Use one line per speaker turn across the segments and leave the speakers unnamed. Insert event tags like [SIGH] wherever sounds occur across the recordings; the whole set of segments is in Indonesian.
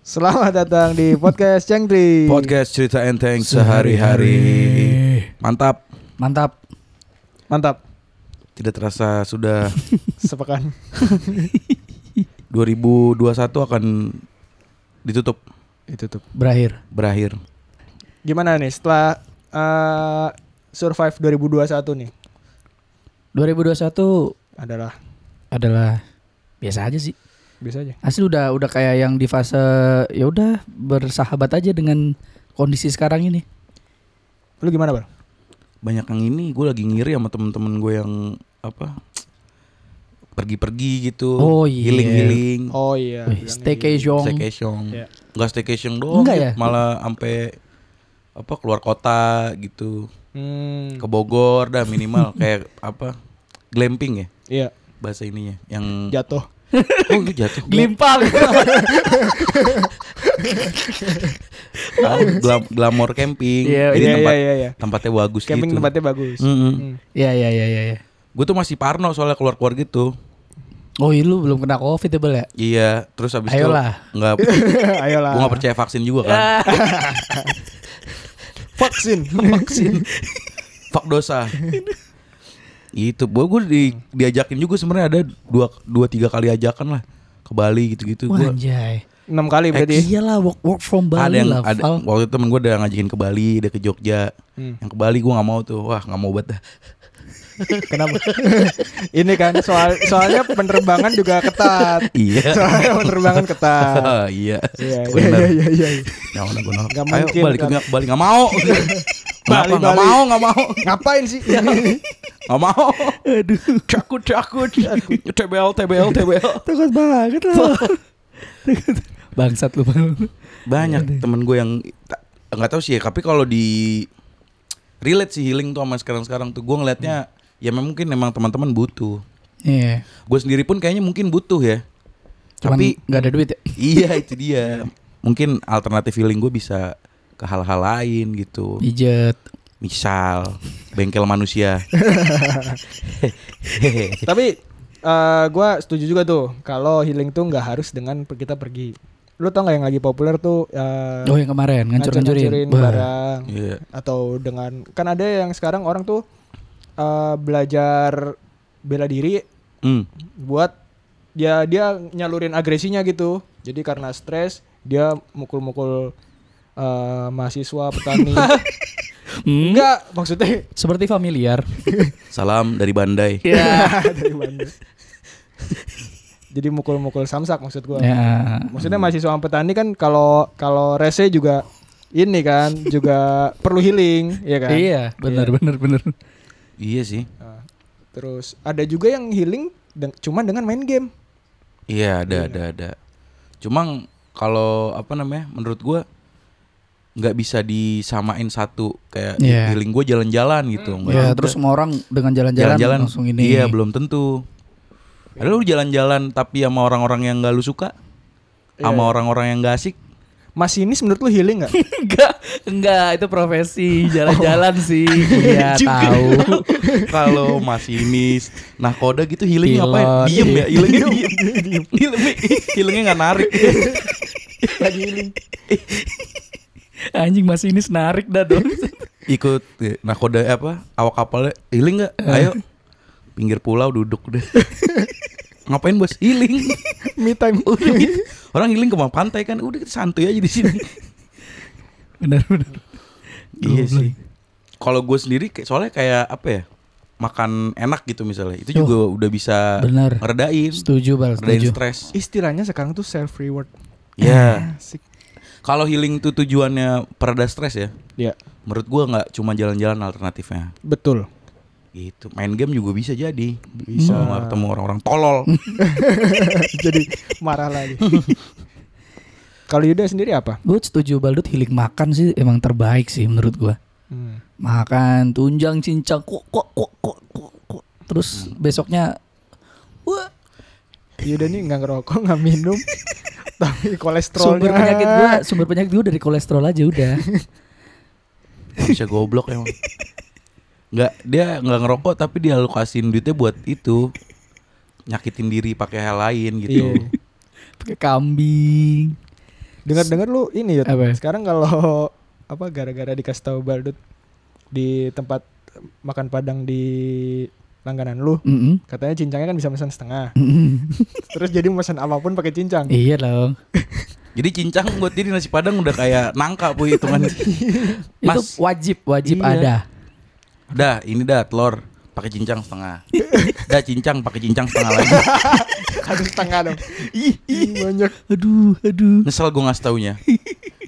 Selamat datang di podcast Cengtri.
Podcast cerita enteng sehari-hari. Mantap.
Mantap.
Mantap.
Tidak terasa sudah
Sepekan.
2021 akan ditutup
Itu tuh.
Berakhir.
berakhir.
Gimana nih setelah eh, survive 2021 nih
2021
adalah
adalah biasa aja sih.
bisa aja.
Asli udah udah kayak yang di fase ya udah bersahabat aja dengan kondisi sekarang ini.
Lu gimana, Bang?
Banyak yang ini gue lagi ngiri sama temen-temen gue yang apa? Pergi-pergi gitu.
Oh, iya.
Healing-healing.
Oh iya. bilangnya
Wih,
gitu.
staycation.
Staycation.
Iya.
Enggak staycation doang,
Enggak
Dit.
ya?
malah sampai apa keluar kota gitu.
Hmm.
Ke Bogor dah minimal
[LAUGHS]
kayak apa? Glamping ya
Iya,
bahasa ininya yang
jatuh.
Oh, itu jatuh.
Glimpang. [LAUGHS]
Tahu, glam- glamour camping.
Iya,
Jadi
Iya,
tempat
iya, iya, iya.
tempatnya bagus
Camping
gitu.
tempatnya bagus. Hmm.
Ya ya ya ya ya.
Gue tuh masih parno soalnya keluar-keluar gitu.
Oh, iya, lu belum kena Covid ya, Bel ya?
Iya, terus abis itu
Ayolah.
nggak
[LAUGHS] Ayolah.
gue nggak percaya vaksin juga kan.
Ah. Vaksin.
[LAUGHS] Vaksin.
Fuck dosa. gitu. Gue gue di, diajakin juga sebenarnya ada dua dua tiga kali ajakan lah ke Bali gitu-gitu. Gua
Wah, anjay.
6 kali berarti. ya?
Iyalah work, work from
ada
Bali
yang
lah.
ada,
Val.
waktu itu temen gue udah ngajakin ke Bali, ada ke Jogja.
Hmm.
Yang ke Bali gue nggak mau tuh. Wah nggak mau banget dah.
Kenapa? [LAUGHS] Ini kan soal soalnya penerbangan juga ketat.
[LAUGHS]
Iya.
Soalnya penerbangan ketat.
[LAUGHS] Iya.
Iya,
Bener.
iya, iya, iya, iya.
Ya udah gue nolak.
Nggak
Ayo
mungkin,
balik
kan.
nggak balik nggak
[LAUGHS]
mau. Kenapa
Bali,
nggak
Bali.
mau nggak mau
Ngapain sih?
nggak mau.
Aduh,
Cakut cakut. TBL TBL TBL.
takut banget lah. [LAUGHS] Bangsat lu, Bang.
Banyak temen gue yang ta- nggak tahu sih ya. Tapi kalau di relate sih healing tuh sama sekarang sekarang tuh gue ngelihatnya ya memang mungkin memang teman-teman butuh.
Iya.
Gue sendiri pun kayaknya mungkin butuh ya.
Cuman
Tapi [LAUGHS]
nggak ada duit ya?
iya itu dia. Mungkin alternatif healing gue bisa ke hal-hal lain gitu.
Pijet.
Misal bengkel manusia.
Tapi eh gue setuju juga tuh kalau healing tuh nggak harus dengan per- kita pergi. Lu tau nggak yang lagi populer tuh eh,
Oh yang kemarin
ngancur-ngancurin
ngancur-ngancurin. Wah.
barang
Iya.
atau dengan kan ada yang sekarang orang tuh eh, belajar bela diri
Hmm.
buat dia dia nyalurin agresinya gitu. Jadi karena stres dia mukul-mukul eh, mahasiswa
[LAUGHS]
petani.
Hmm,
Enggak, maksudnya
Seperti familiar.
Salam dari Bandai.
Iya.
dari Bandung. Jadi mukul-mukul samsak maksud gua.
[LAUGHS] ya.
Maksudnya mahasiswa sama petani kan kalau kalau rese juga ini kan juga perlu healing, ya kan?
Iya, benar benar benar.
Iya sih.
Nah, terus ada juga yang healing deng- cuman dengan main game.
Iya ada ada ada. Cuma kalau apa namanya menurut gua nggak bisa disamain satu kayak
Iya.
healing gua jalan-jalan gitu. nggak
Ya,
ada.
terus semua orang dengan jalan-jalan
jalan-jalan
langsung ini.
Iya belum tentu. Ada lu jalan-jalan tapi sama orang-orang yang nggak lu suka, sama orang-orang yang gak asik.
Masinis menurut lu healing nggak?
[LAUGHS] enggak, enggak itu profesi jalan-jalan sih. Iya,
Juga.
tahu.
[LAUGHS] Kalau masinis, nahkoda gitu healing
Pilot.
ngapain? Diem ya, healingnya diem. Healingnya- Healingnya nggak narik.
Lagi healing.
Anjing masih ini senarik dah dong.
ikut ya, nakoda eh, apa awak kapalnya healing nggak ayo pinggir pulau duduk deh [LAUGHS] ngapain bos healing
Me time.
Udah gitu. orang healing ke mah pantai kan udah kita santuy aja di sini
benar benar.
iya
Goblok.
sih kalau gue sendiri kayak- soalnya kayak apa ya makan enak gitu misalnya itu juga udah bisa
benar.
ngeredain
Setuju Bal,
ngeredain
setuju.
stres
Istilahnya sekarang tuh self reward.
ya
Asik.
kalau healing tuh tujuannya pereda stres ya
Ya,
menurut gue nggak cuma jalan-jalan alternatifnya
betul.
gitu main game juga bisa jadi bisa ketemu orang-orang tolol
Jadi marah lagi. kalau Yuda sendiri apa?
Gue setuju Baldut hilik makan sih emang terbaik sih menurut gua.
Hmm.
makan tunjang cincang kok kok kok kok kok, kok. terus besoknya wah
Yuda nih nggak ngerokok, nggak minum, tapi kolesterolnya.
sumber penyakit gua sumber penyakit gua dari kolesterol aja [LAUGHS] udah
bisa goblok emang nggak dia nggak ngerokok tapi dia alokasin duitnya buat itu nyakitin diri pakai hal lain gitu
Iya.
pakai kambing
Dengar-dengar lu ini ya.
Apa ya?
Sekarang kalau [LAUGHS] apa gara-gara dikasih tahu Baldut di tempat makan Padang di langganan lu,
Mm-mm.
katanya cincangnya kan bisa pesan
[LAUGHS]
setengah.
Mm-mm.
Terus jadi pesan apapun pakai cincang.
Iya dong.
Jadi cincang buat dia di nasi padang udah kayak nangka bu hitungannya.
Itu
Mas.
wajib wajib
Iya.
ada.
Dah, ini dah telur pakai cincang setengah. Dah cincang pakai cincang setengah lagi.
Satu setengah
[LAUGHS]
dong. Ih, banyak.
Aduh, aduh.
Nyesel gue ngasih taunya.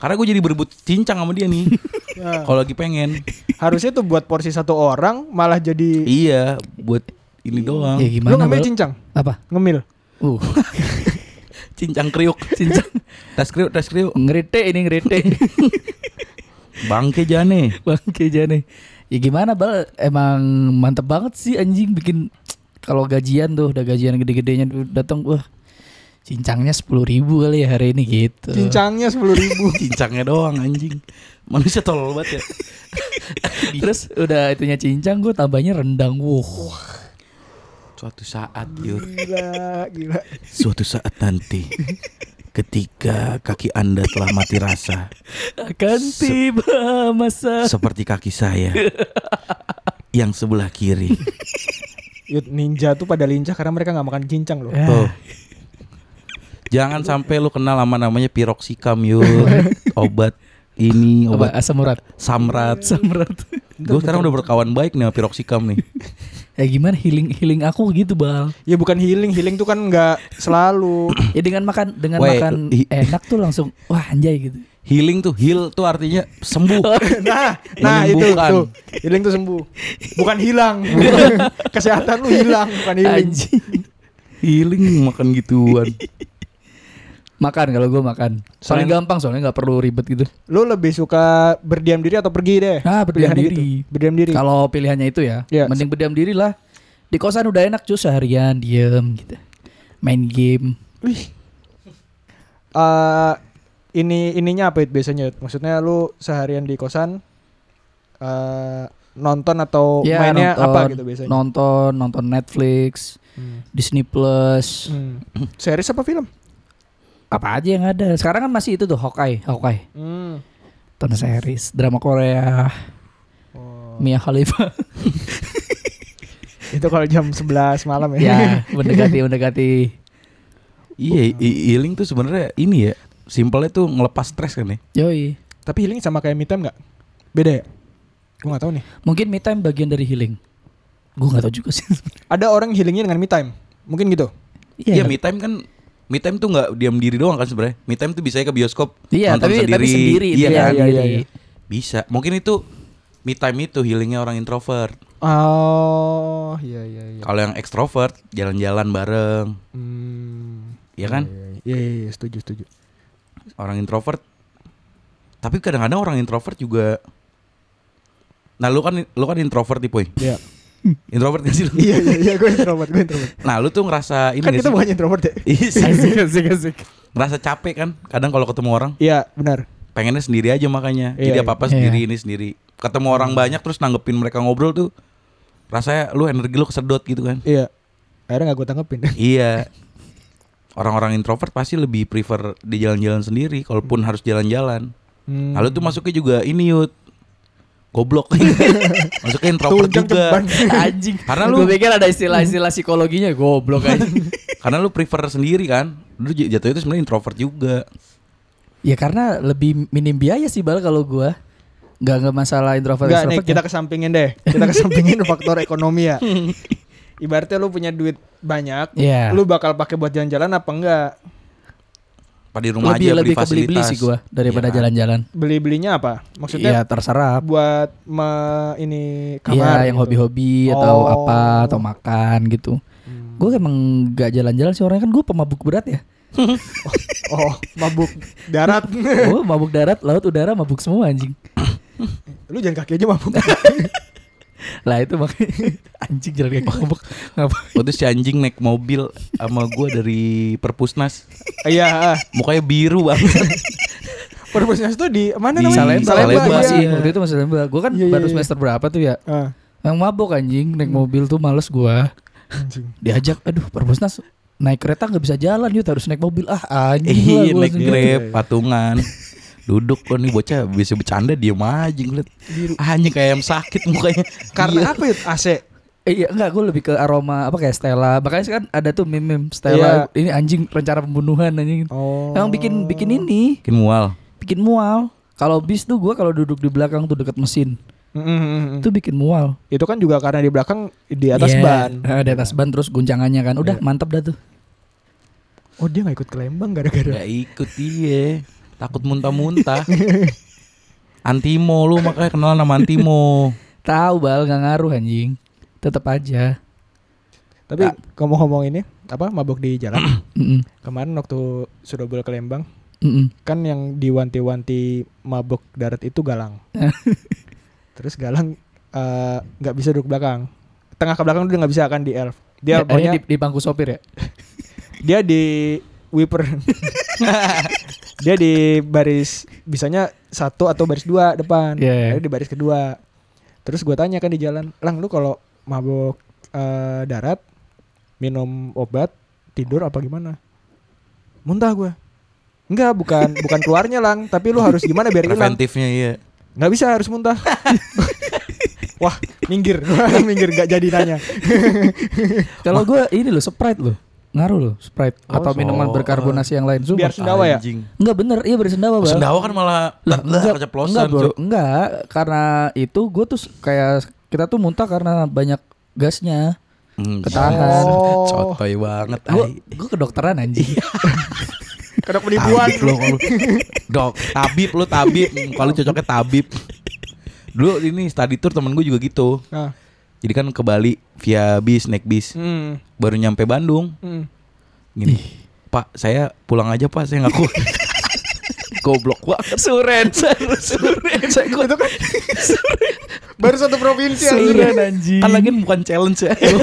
Karena gue jadi berebut cincang sama dia nih.
Nah,
Kalau lagi pengen.
harusnya tuh buat porsi satu orang malah jadi
Iya, buat ini doang.
Ya
lu
gimana?
ngambil
Bal?
cincang,
Apa?
ngemil.
Uh, [LAUGHS]
Cincang kriuk. [LAUGHS]
cincang.
Tas kriuk, tas kriuk.
ngerite ini ngerite. [LAUGHS]
Bangke jane.
Bangke jane. Ya gimana bal? Emang mantep banget sih anjing bikin kalau gajian tuh udah gajian gede-gedenya tuh datang wah cincangnya sepuluh ribu kali ya hari ini gitu.
Cincangnya sepuluh ribu.
[LAUGHS] Cincangnya doang anjing. Manusia tolol banget ya.
Terus udah itunya cincang gue tambahnya rendang. Wow.
Suatu saat, Yur.
gila, gila.
Suatu saat nanti. Ketika kaki Anda telah mati rasa.
Akan tiba masa.
seperti kaki saya yang sebelah kiri.
Yut, ninja tuh pada lincah karena mereka nggak makan cincang loh.
Eh.
Tuh. Oh. Jangan sampai lu kenal sama namanya piroksikam yuk [LAUGHS] obat ini obat
Obat asam urat.
samrat.
Asam [LAUGHS] urat.
Gue sekarang udah berkawan baik nih sama piroksikam nih.
ya gimana healing healing aku gitu bal.
Ya bukan healing, healing tuh kan nggak selalu.
Ya dengan makan dengan
Weh,
makan
i-
enak tuh langsung wah anjay gitu.
Healing tuh heal tuh artinya sembuh.
[LAUGHS] Nah, nah itu
Menyembuhkan.
tuh. Healing tuh sembuh. Bukan
[LAUGHS]
hilang. Kesehatan lu hilang, bukan healing.
Anjing.
Healing makan gituan.
Makan kalau gue makan. Paling
Selain-
gampang soalnya nggak perlu ribet gitu.
Lu lebih suka berdiam diri atau pergi deh?
Ah, berdiam
Pilihannya
diri.
gitu. Berdiam diri.
Kalau pilihannya itu ya,
Iya.
mending berdiam diri lah. Di kosan udah enak cuy seharian diem gitu. Main game.
Wih. Eh, ini ininya apa Yud, biasanya? Yud? Maksudnya lu seharian di kosan eh nonton atau Oh,
Ya,
mainnya
nonton,
apa gitu biasanya?
Nonton, nonton Netflix,
Hmm.
Disney Plus,
Hmm. Series apa film?
apa aja yang ada. Sekarang kan masih itu tuh Hawkeye, Hawkeye.
Hmm.
Nonton series, drama Korea,
Oh.
Mia Khalifa.
Itu kalau jam 11 malam ya. [LAUGHS]
ya, mendekati mendekati.
[LAUGHS] Iya, i- healing tuh sebenarnya ini ya. Simpelnya tuh ngelepas stres kan ya.
Yoi.
Tapi healing sama kayak me time nggak? Beda ya? Gue nggak tahu nih.
Mungkin me time bagian dari healing. Gue nggak tahu juga sih.
Ada orang healingnya dengan me time. Mungkin gitu.
Iya, me time kan me time tuh nggak diam diri doang kan sebenarnya. Me time tuh bisa ke bioskop
Iya,
nonton
tapi
sendiri.
tapi sendiri
Iya
dia
kan?
iya, iya,
sendiri.
iya.
Bisa. Mungkin itu me time itu healingnya orang introvert.
Oh, iya iya iya.
Kalau yang ekstrovert jalan-jalan bareng,
Hmm.
ya kan?
Iya iya, iya, iya, setuju setuju.
Orang introvert. Tapi kadang-kadang orang introvert juga Nah, lu kan lu kan introvert nih, Puy.
Iya.
Introvert gak sih lu?
[LAUGHS] iya iya iya gue introvert, gue introvert.
Nah, lu tuh ngerasa ini
Kan
gak
kita
sih?
bukan introvert ya.
[LAUGHS] Iya sih.
Asik, asik, asik.
ngerasa capek kan? Kadang kalau ketemu orang
Iya, benar.
pengennya sendiri aja makanya.
Iya,
Jadi
iya.
apa-apa
Iya. Hmm.
sendiri ini sendiri. Ketemu orang banyak terus nanggepin mereka ngobrol tuh rasanya lu energi lu kesedot gitu kan.
Iya. Akhirnya gak gue tanggepin.
Iya. Orang-orang introvert pasti lebih prefer di jalan-jalan sendiri, kalaupun harus jalan-jalan.
Hmm.
Lalu tuh masuknya juga ini yut,
[LAUGHS]
goblok. masuknya introvert
Tunjang
juga.
ceban.
[LAUGHS]
[LAUGHS]
Anjing.
Karena lu- Hmm.
Gua pikir ada istilah-istilah psikologinya goblok anjing.
Karena lu prefer sendiri kan, lu j- jatuhnya itu sebenarnya introvert juga.
ya karena lebih minim biaya sih bal kalau gua. Gak nggak masalah introvert
Enggak nih,
extrovert.
kita kesampingin deh. Kita kesampingin faktor ekonomi [LAUGHS] ya. Ibaratnya lu punya duit banyak,
Iya.
lu bakal pakai buat jalan-jalan apa enggak?
Pada di rumah
lebih
aja
lebih
beli
ke beli-beli
fasilitas.
sih gua daripada
Iya kan?
jalan-jalan.
Beli-belinya apa? Maksudnya
Iya, terserap.
buat me- ini kamar
Iya, yang
gitu.
hobi-hobi atau
Oh.
apa atau makan gitu.
Hmm.
Gue emang gak jalan-jalan sih orangnya kan gue pemabuk berat
[LAUGHS]
ya.
oh mabuk darat
Gue mabuk darat, laut, udara mabuk semua anjing.
lu jangan kaki aja
[LAUGHS]
mabuk
Lah itu makanya [LAUGHS] anjing jalan kayak mabuk. Ngapa-
Waktu si anjing naik mobil sama gua dari perpusnas,
iya ah.
mukanya biru banget.
perpusnas tuh di mana
Di
namanya
Salemba.
Salemba,
Salemba.
masih
iya.
waktu itu masih Salemba. Gue kan
Iya, iya, Hmm.
baru
iya.
semester berapa tuh ya?
Ah,
Yang mabok anjing naik mobil tuh males gua.
anjing
Diajak, aduh perbusnas naik kereta nggak bisa jalan yuk harus naik mobil ah
[LAUGHS]
anjing lah
Iya
gua
naik
langsung gitu.
grab patungan duduk kok nih bocah bisa bercanda diem aja ngeliat hanya kayak ayam sakit mukanya Iya.
Karena apa ya AC?
Eh, Iya enggak gue lebih ke aroma apa kayak Stella makanya kan ada tuh meme, -meme
Iya.
Stella ini anjing rencana pembunuhan anjing
Oh.
Emang bikin bikin ini
bikin mual
bikin mual. Kalau bis tuh gua kalau duduk di belakang tuh dekat mesin,
Mm, mm, mm, mm.
itu bikin mual.
Itu kan juga karena di belakang di atas
Iya.
ban.
Eh, di atas ban terus guncangannya kan. Udah mantap dah tuh.
Oh dia nggak ikut ke Lembang gara-gara.
Gak Ya ikut iya Takut muntah-muntah Antimo lu makanya kenal nama Antimo
Tahu bal gak ngaruh anjing. Tetap aja.
Tapi kamu ngomong ini apa mabok di
[CLEARS THROAT]
jalan?
Mm-mm.
Kemarin waktu sudah boleh ke Lembang
Mm-mm.
kan yang diwanti-wanti mabok darat itu Galang. Terus Galang eh, nggak bisa duduk belakang. Tengah ke belakang dia nggak bisa kan di elf. Dia
Ya,
pokoknya
ini di, di bangku sopir ya.
dia di wiper. dia di baris bisanya satu atau baris dua depan.
Iya.
Dia di baris kedua. Terus gue tanya kan di jalan, "Lang, lu kalau mabok eh, darat minum obat, tidur apa gimana?" Muntah gue. Enggak, bukan bukan keluarnya, Lang, tapi lu harus gimana biar hilang.
Preventifnya iya
Nggak bisa harus muntah. [LAUGHS] Wah, minggir. [LAUGHS] minggir nggak jadi nanya.
Kalau gua ini loh Sprite loh. Ngaruh loh Sprite
so-
atau minuman berkarbonasi yang lain
Biar
sumpah.
sendawa ya?
Anjing.
Enggak bener, iya beri sendawa bal.
Sendawa kan malah
Lah,
Lah keceplosan
enggak, bro.
Cuk.
enggak, karena itu gue tuh s- kayak kita tuh muntah karena banyak gasnya.
Hmm,
Ketahan.
Oh.
Cotoy banget
Gue gue kedokteran anjing.
Kedok
ay.
penipuan.
Tabib lu kalau- Dok Tabib lu tabib Hmm, Kalau cocoknya tabib Dulu ini study tour temen gue juga gitu
Nah.
Jadi kan ke Bali Via bis naik bis
Hmm.
Baru nyampe Bandung
Hmm.
Gini Pak saya pulang aja pak Saya ngaku [LAUGHS] Goblok banget
Suren, suren, itu kan
Baru satu provinsi
suren anjing.
Kan lagi bukan challenge ya Lu,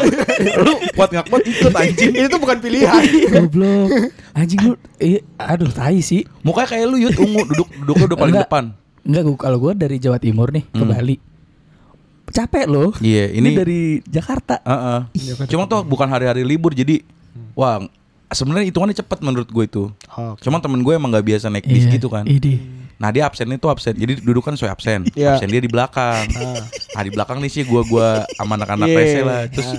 lu kuat gak kuat ikut anjing
Ini tuh bukan pilihan.
goblok. Anjing lu eh, aduh tai sih.
Mukanya kayak lu yut ungu Duduk duduknya udah paling
Enggak.
depan
Enggak gua kalau gue dari Jawa Timur nih ke
Hmm.
Bali. Capek loh.
Iya ini,
Ini dari Iya, kan Jakarta.
Heeh. Cuma tuh bukan hari-hari libur Jadi
Hmm.
Wah sebenarnya hitungannya cepet menurut gue itu Cuma temen gue emang gak biasa naik bis
Iya,
gitu kan
Ini.
Nah dia absen itu absen Jadi duduk kan sesuai absen
Iya. Ah.
Absen dia di belakang Nah di belakang nih sih Gue-gue sama anak-anak
Iya.
rese lah Terus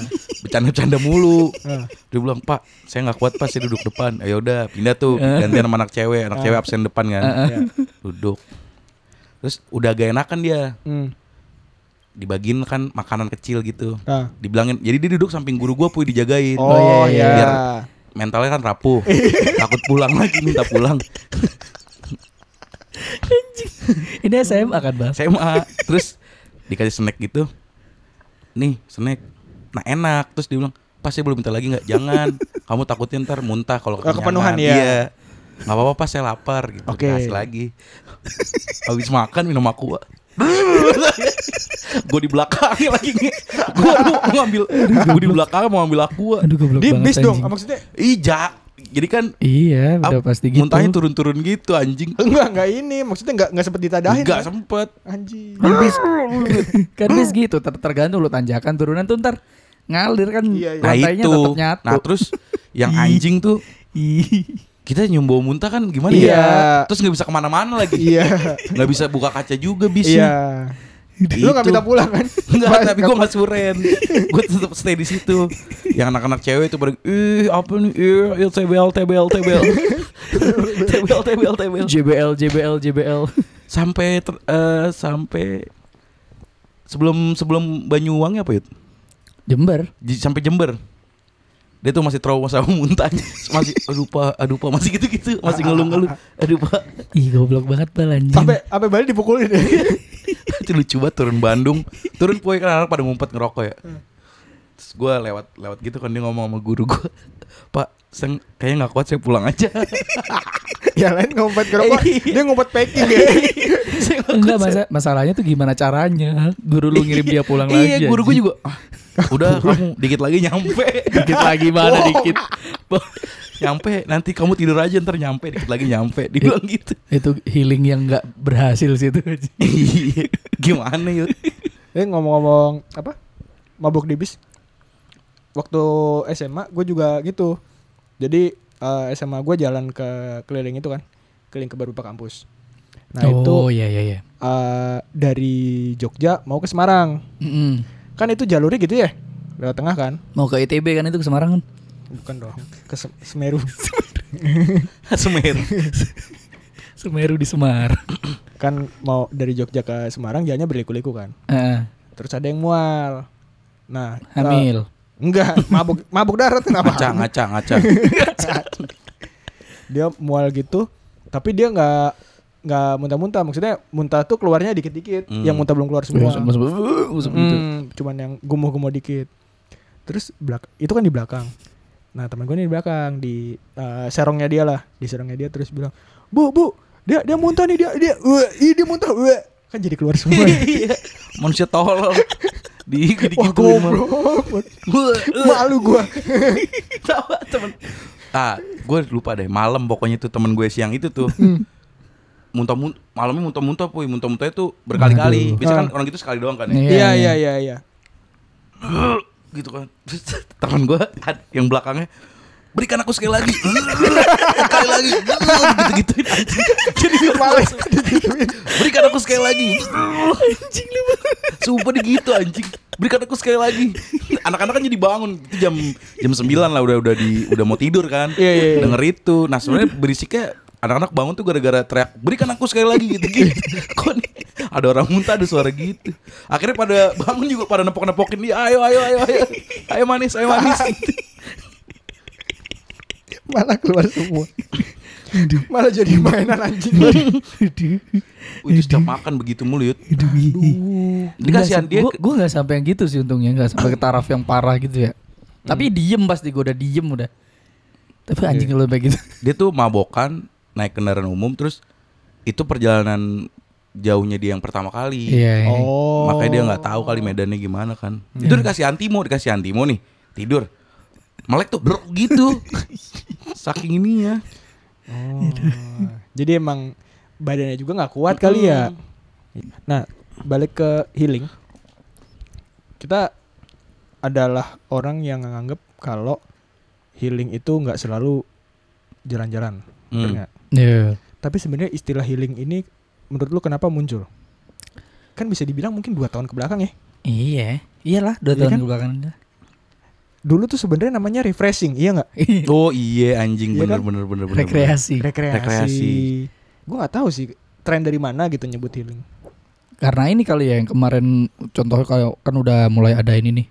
bercanda-bercanda mulu
Ah.
Dia bilang pak saya nggak kuat pak saya duduk depan Ayo udah pindah tuh Gantian sama anak cewek Anak cewek absen depan kan
Iya.
Duduk Terus udah gak enakan dia
Hmm.
Dibagiin kan makanan kecil gitu
Nah.
Dibilangin Jadi dia duduk samping guru gue Puy dijagain
Oh, iya.
Biar mentalnya kan
[LAUGHS]
rapuh Takut pulang lagi minta pulang
Ini SMA kan, Bang?
SMA terus dikasih snack gitu nih snack nah enak terus dia bilang pas saya belum minta lagi nggak jangan kamu takutnya ntar muntah kalau
Kalau
kekenyangan."
kepenuhan, iya.
Iya. nggak apa-apa pas saya lapar gitu
Oke.
Dikasih lagi habis makan minum aku gue di belakang lagi gue ngambil gue di belakang mau ambil aku
Aduh goblok
Di
banget
bis dong.
anjing.
Maksudnya
ija jadi kan
Iya, udah
ap-
pasti gitu.
muntahnya turun-turun gitu anjing
enggak enggak ini. Maksudnya enggak enggak sempet ditadahin.
nggak sempet
Anjing.
Kan bis, [LAUGHS] kan bis gitu ter tergantung lu tanjakan turunan tuh ntar ngalir kan
Iya, iya.
nah
lantainya
itu
tetap nyatu.
nah
[LAUGHS]
terus yang anjing tuh
Ih.
kita nyum bau muntah kan gimana
Iya.
ya? Terus nggak bisa kemana-mana lagi.
Iya.
Nggak bisa buka kaca juga
Iya.
bisnya.
Lu enggak
Itu.
minta pulang kan?
Enggak, tapi gue [LAUGHS] nggak suren.
[LAUGHS]
gue tetap stay di situ. Yang anak-anak cewek itu pada, ih apa nih? Ih, ih, tbl, tbl,
[LAUGHS]
tbl, tbl, tbl, tbl.
JBL JBL JBL.
Sampai ter- eh, sampai sebelum sebelum Banyuwangi apa ya? itu?
Jember.
J- sampai Jember dia tuh masih trauma sama muntahnya [LAUGHS] masih aduh pak aduh pak masih gitu gitu [LAUGHS] masih ngeluh-ngeluh aduh pak
Ih goblok banget bal anjing. [LAUGHS]
Sampai sampai Bali dipukulin. [LAUGHS]
itu lucu banget turun Bandung turun poe kan anak pada ngumpet ngerokok ya terus gue lewat lewat gitu kan dia ngomong sama guru gue pak saya kayaknya nggak kuat saya pulang [LAUGHS] aja
Yang lain ngumpet gerobak, dia ngumpet packing ya.
Saya nggak
Enggak
kuat, saya-
masa masalahnya tuh gimana caranya? Guru lu ngirim dia pulang lagi.
iya guru gue
anjing.
juga "Ah, udah kamu dikit lagi [LAUGHS] nyampe
dikit lagi mana
Bohong.
[LAUGHS]
dikit.
nyampe nanti kamu tidur aja ntar nyampe dikit lagi nyampe dibilang gitu [LAUGHS]
itu healing yang nggak berhasil sih itu.
Iya. gimana yuk
Eh ngomong-ngomong apa? Mabuk di bis. Waktu SMA gue juga gitu. Jadi eh, SMA gue jalan ke keliling itu kan, keliling ke beberapa kampus. Nah itu
oh iya iya iya.
eh, dari Jogja mau ke Semarang,
Mm-mm.
kan itu jalurnya gitu ya, lewat tengah kan?
Mau ke ITB kan itu ke Semarang kan?
Bukan dong, ke Sem- Semeru.
Semeru.
Semeru di Semar.
kan mau dari Jogja ke Semarang jalannya berliku-liku kan.
Heeh.
Terus ada yang mual. Nah, eh,
hamil.
enggak, mabuk mabuk darat kenapa?
Ngaca, ngaca, ngaca.
dia mual gitu tapi dia nggak nggak muntah-muntah maksudnya muntah tuh keluarnya dikit-dikit
Hmm.
yang muntah belum keluar semua
Masuk- masuk- uh, masuk gitu.
Hmm, cuman yang gumoh-gumoh dikit terus belak itu kan di belakang nah teman gue ini di belakang di eh, serongnya dia lah di serongnya dia terus bilang bu bu dia dia muntah nih dia dia wah, ih, dia muntah wah." kan jadi keluar [LAUGHS] semua
Iya. Manusia tolol. Di gitu
wah goblok malu gue
Tawa temen. Ah, gue lupa deh. Malam pokoknya tuh temen gue siang itu tuh. muntah muntah malamnya muntah muntah puy muntah muntahnya tuh berkali-kali
Aduh.
biasanya kan orang gitu sekali doang kan ya
iya iya iya iya
gitu kan [LAUGHS] terus temen gue yang belakangnya berikan aku sekali lagi Ah, sekali lagi gitu gituin jadi malas berikan aku sekali lagi anjing lu sumpah dia gitu anjing berikan aku sekali lagi anak-anak kan jadi bangun itu jam jam 9 lah udah udah di udah mau tidur kan
Iya, iya, iya.
denger itu nah sebenarnya berisiknya anak-anak bangun tuh gara-gara teriak berikan aku sekali lagi gitu gitu kok nih ada orang muntah ada suara gitu akhirnya pada bangun juga pada nepok-nepokin dia ayo ayo ayo ayo ayo manis ayo manis
malah keluar semua malah jadi mainan anjing
itu setiap makan begitu mulut Ini kasihan dia
Gue gue nggak sampai yang gitu sih untungnya nggak sampai ke taraf yang parah gitu ya. Tapi diem pasti gue udah diem udah. Tapi anjing lu kayak gitu.
dia tuh mabokan naik kendaraan umum terus itu perjalanan jauhnya dia yang pertama kali
Iya. iya.
oh
makanya
[LAUGHS]
dia nggak tahu kali medannya gimana kan itu dikasih antimo dikasih antimo nih tidur melek tuh bro gitu saking ininya
Oh. Jadi emang badannya juga nggak kuat kali ya. Nah, balik ke healing. Kita adalah orang yang nganggep kalau healing itu nggak selalu jalan-jalan. bener
Hmm.
nggak?
Iya.
Tapi sebenarnya istilah healing ini menurut lu kenapa muncul? Kan bisa dibilang mungkin dua tahun ke belakang ya.
Iya. Iyalah
Iya
dua tahun
kan?
ke belakang.
Dulu tuh sebenarnya namanya refreshing, iya nggak?
[LAUGHS]
oh iya anjing
Iya
bener
kan?
bener bener bener
Rekreasi.
Rekreasi.
Rekreasi.
Gue nggak tahu sih tren dari mana gitu nyebut healing.
Karena ini kali ya yang kemarin contohnya kayak kan udah mulai ada ini nih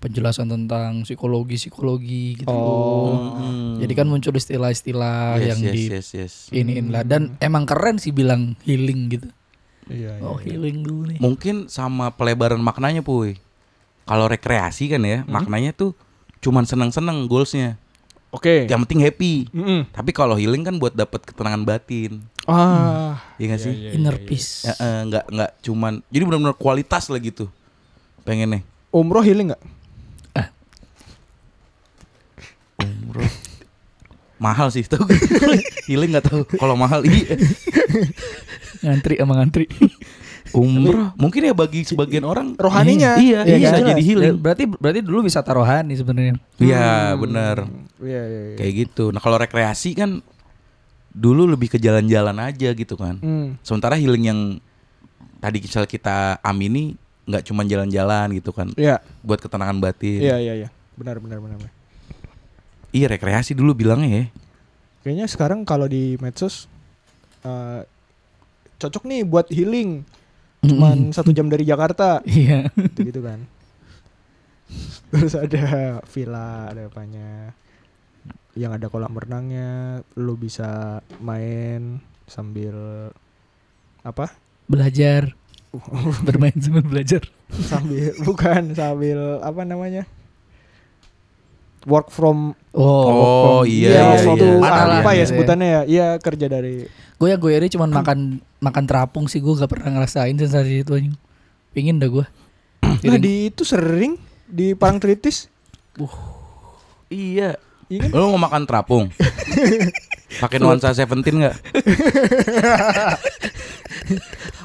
penjelasan tentang psikologi psikologi gitu.
Oh.
loh. Jadi kan muncul istilah-istilah
hmm. yes,
yang
yes,
di
yes, yes.
iniin lah dan emang keren sih bilang healing gitu.
Iya.
Oh healing dulu nih.
mungkin sama pelebaran maknanya puy kalau rekreasi kan ya maknanya tuh cuman seneng seneng goalsnya
Oke.
yang penting happy
Mm-mm.
tapi kalau healing kan buat dapat ketenangan batin
Ah.
Iya gak sih
Inner peace.
Ya, eh, nggak nggak cuman jadi benar-benar kualitas lah gitu pengennya
Umroh healing nggak?
umroh mahal sih tuh [LAUGHS] healing nggak tahu kalau mahal iya
Ngantri sama ngantri.
umroh mungkin ya bagi sebagian orang
Rohaninya.
iya,
Iya,
bisa
kan?
jadi [LAUGHS] healing
Berarti berarti dulu wisata rohani sebenarnya.
iya bener
Iya iya. iya.
kayak gitu nah kalau rekreasi kan dulu lebih ke jalan-jalan aja gitu kan
Hmm.
sementara healing yang tadi misal kita amini nggak cuman jalan-jalan gitu kan
Iya.
buat ketenangan batin
Iya iya iya. Benar benar benar. benar.
iya rekreasi dulu bilangnya ya
Kayaknya sekarang kalau di medsos eh, cocok nih buat healing.
Hmm.
Cuman satu jam dari Jakarta
[LAUGHS] Iya.
gitu, gitu kan.
[LAUGHS]
Terus ada villa, ada apanya. Yang ada kolam renangnya, lu bisa main sambil apa?
[LAUGHS]
Belajar. Bermain sambil belajar.
Sambil [LAUGHS] bukan sambil apa namanya? Work from
Oh, iya,
Iya,
iya,
waktu
iya.
apa ya
Parah iya.
sebutannya ya? Iya kerja dari.
Gue yang gue iri ya cuman makan makan terapung sih gue gak pernah ngerasain sensasi itu anjing. Pingin dah gue.
Nah di itu sering di
[LAUGHS]
Parangtritis.
iya
Iya kan?
Lo mau makan terapung? Pakai nuansa Seventeen nggak?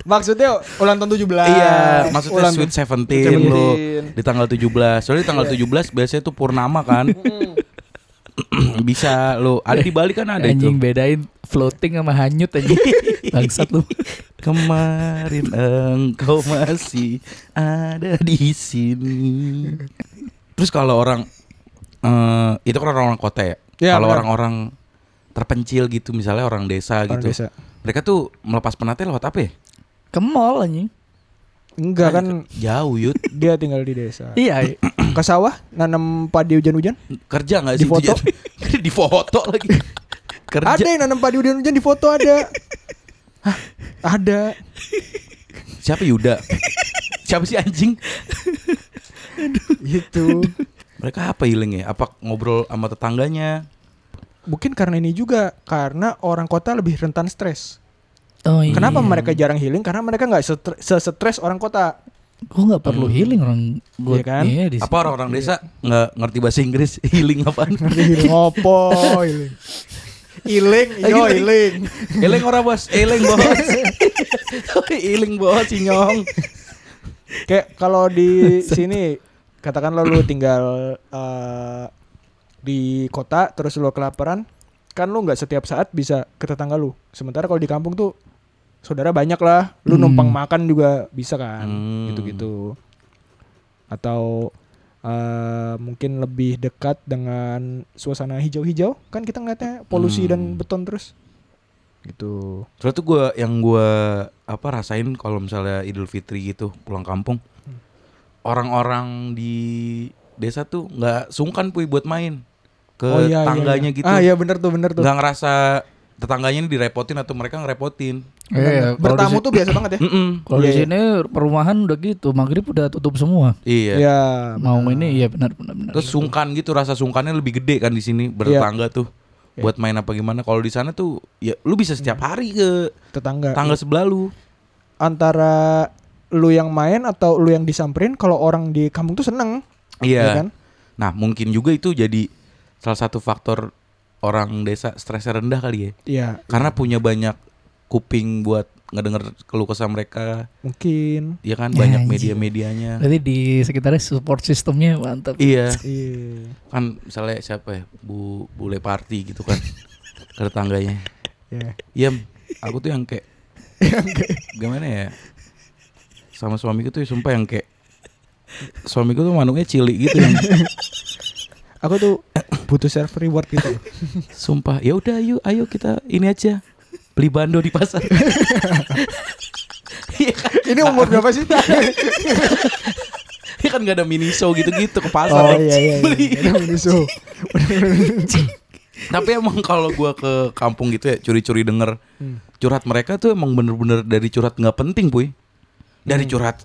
Maksudnya ulang tahun 17
Iya, maksudnya
ulang-
Sweet gitu. Seventeen lo
17.
di tanggal 17. Soalnya di tanggal 17 biasanya tuh purnama kan. [CLEARS THROAT] bisa lu ada di Bali kan ada
anjing
itu
bedain floating sama hanyut
[LAUGHS]
anjing. Bangsat lu.
kemarin engkau masih ada di sini terus kalau orang eh, itu kan orang-orang kota ya,
Iya,
kalau
benar.
orang-orang terpencil gitu misalnya orang desa
Orang
gitu
desa.
mereka tuh melepas penatnya lewat apa ya
Ke mall anjing.
Enggak kan
jauh yut
dia tinggal di desa.
Iya.
Ke sawah nanam padi hujan-hujan?
kerja
Di
nggak sih itu, [LAUGHS]
foto?
Jat? di foto lagi kerja
Ada yang nanam padi hujan-hujan di foto
[LAUGHS]
ada. Hah, ada.
siapa Yuda siapa sih anjing
Itu.
mereka apa healing ya apa ngobrol sama tetangganya
Mungkin karena ini juga karena orang kota lebih rentan stres.
Oh iya.
Kenapa mereka jarang healing? Karena mereka nggak setre- se-stres orang kota.
Gue nggak perlu healing orang gue
Hmm. Iya kan?
Iya, di
apa orang-orang desa nggak ngerti bahasa Inggris [LAUGHS] healing apaan
Healing [LAUGHS] opo, healing. Eh, gitu Healing, yo healing.
Eleng ora bos, eleng
[LAUGHS]
bos. Eleng bos sinyong.
Kayak kalau di sini katakan lo lu tinggal eh, di kota terus lo kelaparan, kan lo nggak setiap saat bisa ke tetangga lu. Sementara kalau di kampung tuh saudara banyak lah, lu
Hmm.
numpang makan juga bisa kan,
Hmm.
gitu-gitu. Atau eh, mungkin lebih dekat dengan suasana hijau-hijau, kan kita ngeliatnya polusi
Hmm.
dan beton terus. Gitu.
Terus tuh gue yang gue apa rasain kalau misalnya Idul Fitri gitu pulang kampung, orang-orang di desa tuh nggak sungkan puy buat main ke
Oh, iya, iya,
tangganya
iya.
gitu,
Ah
nggak
iya bener tuh, bener tuh.
ngerasa tetangganya ini direpotin atau mereka ngerepotin.
Iya, kalau di
Bertamu
si-
tuh biasa banget ya.
Mm-mm.
Kalau di
Iya, iya.
sini perumahan udah gitu, maghrib udah tutup semua.
Iya.
Iya.
Mau ini iya benar benar benar.
Terus sungkan gitu rasa sungkannya lebih gede kan di sini bertangga tuh.
Iya. Hmm.
Buat main apa gimana? Kalau di sana tuh ya lu bisa setiap hari ke
Iya. tetangga.
tangga sebelah lu.
Antara lu yang main atau lu yang disamperin kalau orang di kampung tuh seneng.
Iya.
ya kan?
Nah mungkin juga itu jadi salah satu faktor orang desa stresnya rendah kali ya.
Iya,
Karena punya banyak kuping buat ngedenger keluh kesah mereka,
mungkin.
ya kan
Ya,
banyak
anjir.
media-medianya.
Berarti di sekitarnya support sistemnya mantap.
Iya,
Iya.
kan misalnya siapa ya, Bu Bule Party gitu [LAUGHS] kan, ke tetangganya.
Iya.
Yem, aku tuh Iya, yang kayak, gimana ya, sama suamiku tuh sumpah yang kayak, suamiku tuh manuknya cilik gitu yang
Aku tuh butuh self reward gitu.
Sumpah, ya udah ayo ayo kita ini aja beli bando di
[LAUGHS]
pasar. Iya kan,
[LAUGHS] Ini umur berapa [LAUGHS] sih?
iya kan gak ada mini show gitu-gitu ke
oh
pasar.
iya iya. iya. Ada menyusul.
Tapi emang kalau gua ke kampung gitu ya curi-curi denger
Hmm.
curhat mereka tuh emang bener-bener dari curhat nggak penting puy.
Hmm.
Dari curhat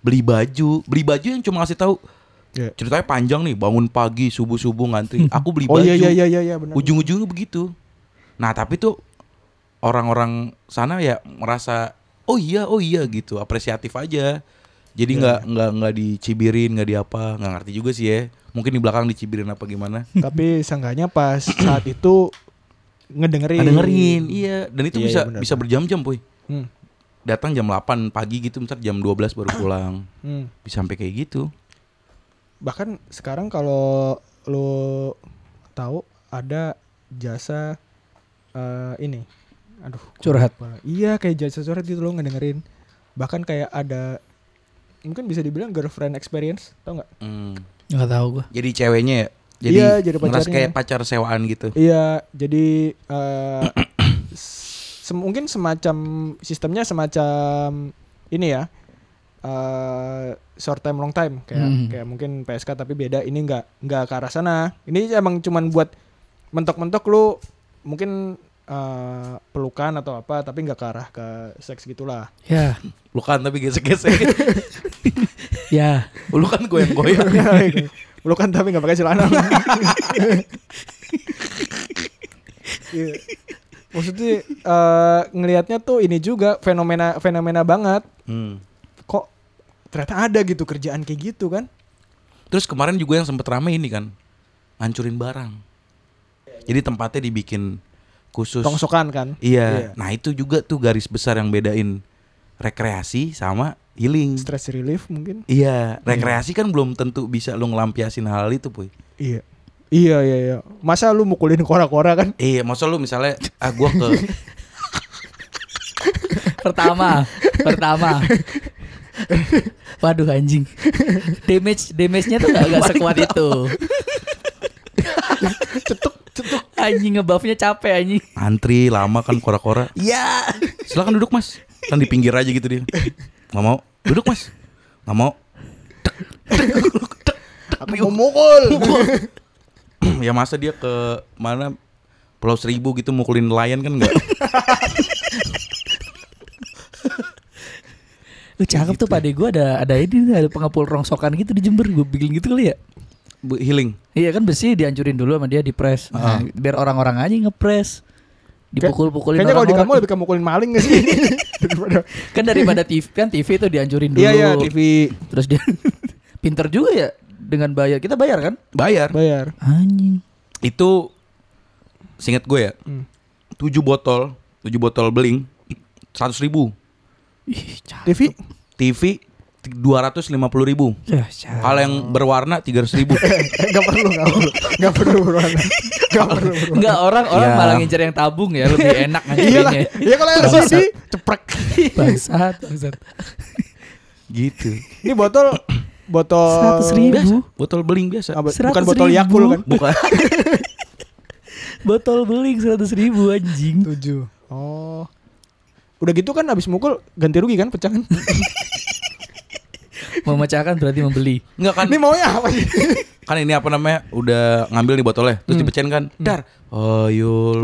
beli baju, beli baju yang cuma ngasih tahu
Iya.
ceritanya panjang nih bangun pagi subuh-subuh ngantri. Aku beli
Oh
baju.
iya iya iya iya, iya benar.
ujung-ujungnya begitu. Nah tapi tuh orang-orang sana ya merasa oh iya oh iya gitu apresiatif aja. Jadi
Iya.
nggak nggak nggak dicibirin nggak diapa nggak ngerti juga sih ya. Mungkin di belakang dicibirin apa gimana.
Tapi seenggaknya pas saat itu ngedengerin.
Nggak dengerin iya dan itu
Iya,
bisa
iya, benar,
bisa
benar.
berjam-jam puy.
Hmm.
Datang jam 8 pagi gitu misalnya jam 12
[CLEARS THROAT]
baru pulang.
Hmm.
Bisa sampai kayak gitu.
bahkan sekarang kalau lo tahu ada jasa eh, ini aduh
Curhat.
kepala. iya kayak jasa curhat gitu lo ngedengerin bahkan kayak ada mungkin bisa dibilang girlfriend experience tau nggak
Hmm.
Enggak tahu gua.
Jadi ceweknya ya. Jadi,
Iya, jadi
ngerasa
pacarnya.
kayak pacar sewaan gitu.
iya jadi eh, [CLEARS THROAT] se- mungkin semacam sistemnya semacam ini ya eh, short time long time kayak
Hmm.
kayak mungkin PSK tapi beda ini nggak nggak ke arah sana ini emang cuman buat mentok-mentok lu mungkin eh, pelukan atau apa tapi nggak ke arah ke seks gitulah
Ya,
Bukan kan, tapi
[LAUGHS]
gesek-gesek.
ya.
Lu kan goyang-goyang.
[LAUGHS] pelukan kan tapi nggak pakai celana Iya. maksudnya eh, ngelihatnya tuh ini juga fenomena fenomena banget
Hmm.
kok ternyata ada gitu kerjaan kayak gitu kan
Terus kemarin juga yang sempet rame ini kan Ngancurin barang Jadi tempatnya dibikin khusus
tongsokan kan
Iya Nah itu juga tuh garis besar yang bedain Rekreasi sama healing
stress relief mungkin
Iya Rekreasi kan belum tentu bisa lo ngelampiasin hal itu Puy
iya Iya iya iya. Masa lu mukulin kora-kora kan?
Iya, masa lu misalnya ah gua ke
pertama pertama waduh anjing damage damage-nya tuh gak, gak sekuat itu
cetuk cetuk.
anjing ngebuffnya capek anjing
[LAUGHS] antri lama kan kora-kora.
ya
Silakan duduk, Mas. Kan di pinggir aja gitu dia. Nggak mau. Duduk, Mas. Nggak mau.
Aku mau mukul.
[CLEARS THROAT] ya masa dia ke mana Pulau Seribu gitu mukulin nelayan kan enggak?
lu cakep tuh
Gitu.
pada gue ada ada ini ada pengepul rongsokan gitu di Jember gue bikin gitu kali ya
Healing.
iya kan besi dihancurin dulu sama dia dipres
Ah.
Nah, biar orang-orang aja ngepres dipukul-pukulin
Kayaknya kalau di kamu
orang-orang
lebih ke mukulin maling gak sih? Daripada
kan daripada TV kan TV tuh dihancurin dulu
Iya iya TV
terus dia [LAUGHS] pinter juga ya dengan bayar kita bayar kan
Bayar.
bayar.
anjing
Itu singkat gue ya.
Hmm.
tujuh botol, tujuh botol beling 100 ribu.
ih cakep
TV
TV 250 ribu.
Ya, cakep.
Kalau yang berwarna 300 ribu.
Gak Eh, perlu gak perlu gak perlu berwarna Gak perlu berwarna
Enggak orang orang
Ya.
malah ngincer yang tabung ya lebih [LAUGHS] enak
Iyalah
ngajarinnya.
Iya kalau LCD ceprek
Bangsat, bangsat.
gitu.
Ini botol Botol
100 ribu
Botol beling biasa.
Ah, bu-
100
Bukan botol
ribu.
Yakul kan
Bukan. [LAUGHS]
botol beling 100 ribu anjing.
7 Oh Udah gitu kan abis mukul ganti rugi kan pecah kan
Memecahkan berarti membeli.
Enggak kan.
Ini maunya apa sih
kan ini apa namanya udah ngambil nih botolnya
Hmm.
terus dipecahin kan dar oh yul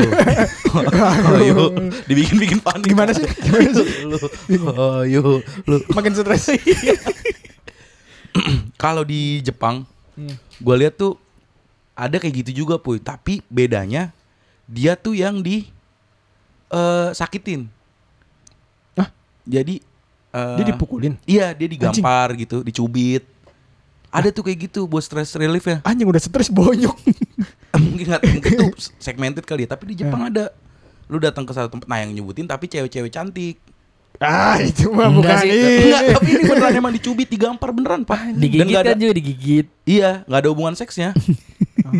[LAUGHS]
oh yul dibikin bikin panik
Gimana sih? Gimana sih?
Lu, oh yul lu
Makin stres
[CLEARS THROAT] kalau di Jepang
Hmm.
gue lihat tuh ada kayak gitu juga puy tapi bedanya dia tuh yang di eh, sakitin
Hah?
jadi
Ah.
eh,
Dia dipukulin
iya dia digampar gitu dicubit ada tuh kayak gitu buat stress relief
[LAUGHS]
ya
Anjing udah stres bonyok
mungkin nggak mungkin tuh segmented kali ya tapi di Jepang ada lu datang ke satu tempat nah yang nyebutin tapi cewek-cewek cantik
Ah itu mah bukan
Enggak sih.
ini
Enggak, tapi ini beneran emang dicubit digampar beneran pak Dan
Digigit
nggak ada
kan juga digigit.
iya nggak ada hubungan
[LAUGHS]
seksnya Ah.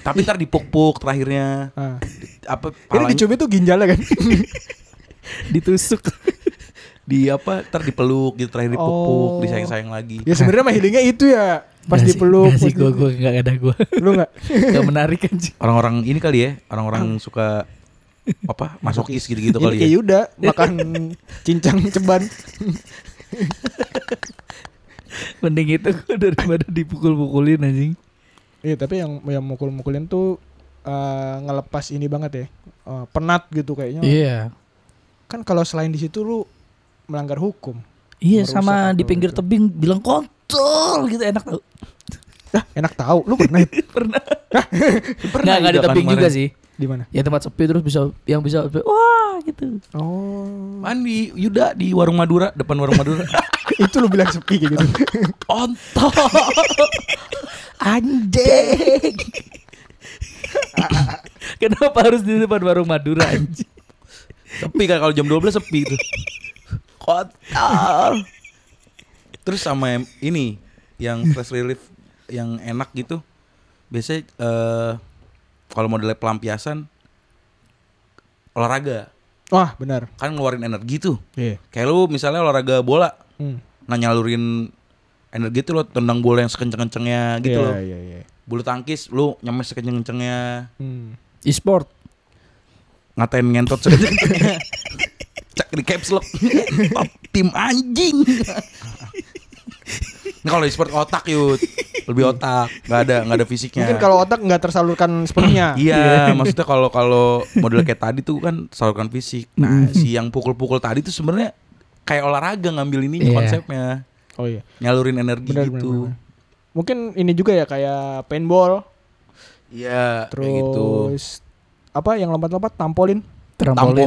tapi ntar dipuk-puk terakhirnya
Ah.
apa
Ini
palanya-
dicubit tuh ginjalnya kan
Ditusuk.
di apa ntar dipeluk gitu terakhir dipuk-puk
Oh.
disayang-sayang lagi
Ya sebenarnya mah healingnya itu ya Pas dipeluk
Enggak sih
pas
gua
di-
gua enggak ada [LAUGHS] gua.
Lu gak
Enggak menarik anjing.
orang-orang ini kali ya orang-orang suka apa masokis gitu-gitu
Ini
kali ya
Ah. kayak Yuda Makan cincang ceban
Mending itu gua daripada dipukul-pukulin anjing.
Iya tapi yang yang mukul-mukulin tuh eh, ngelepas ini banget ya eh, penat gitu kayaknya.
Iya.
Kan kalau selain di situ lu melanggar hukum.
Iya
Merusak
sama di
atau
pinggir
itu.
tebing bilang kontol gitu enak tau.
Dah enak tahu lu pernah
[LAUGHS]
ya?
Pernah.
pernah
Enggak enggak di
juga kan
tebing juga
kemarin.
sih.
di mana?
Ya tempat sepi terus bisa yang bisa wah gitu.
Oh
mandi Yuda di warung Madura depan warung [LAUGHS] Madura
itu lu bilang sepi kayak
[LAUGHS]
gitu.
ontol
[LAUGHS] Anjing. [LAUGHS] Kenapa harus di depan warung Madura anjing?
sepi kan kalau jam 12 sepi itu kotor terus sama yang ini yang stress relief yang enak gitu biasanya eh kalau modelnya pelampiasan olahraga
Wah benar.
kan ngeluarin energi tuh
Iya.
kayak lu misalnya olahraga bola
Hmm.
nah nyalurin energi tuh lo tendang bola yang sekenceng-kencengnya gitu
Iya,
loh
Iya iya.
bulu tangkis lu nyemes sekenceng-kencengnya
Hmm.
E-sport.
ngatain ngentot [LAUGHS] sekenceng-kencengnya cek di caps lock Top tim anjing ini kalau di sport otak yud lebih otak nggak ada nggak ada fisiknya
Mungkin kalau otak nggak tersalurkan sepenuhnya.
Ya. [CLEARS THROAT] iya maksudnya kalau kalau model kayak tadi tuh kan salurkan fisik nah
Hmm.
si yang pukul-pukul tadi tuh sebenarnya kayak olahraga ngambil ininya
Iya.
konsepnya
Oh iya.
nyalurin energi
Benar, benar,
gitu
benar. Mungkin ini juga ya kayak paintball,
iya
terus
kayak gitu
apa yang lompat-lompat tampolin,
Tampolin.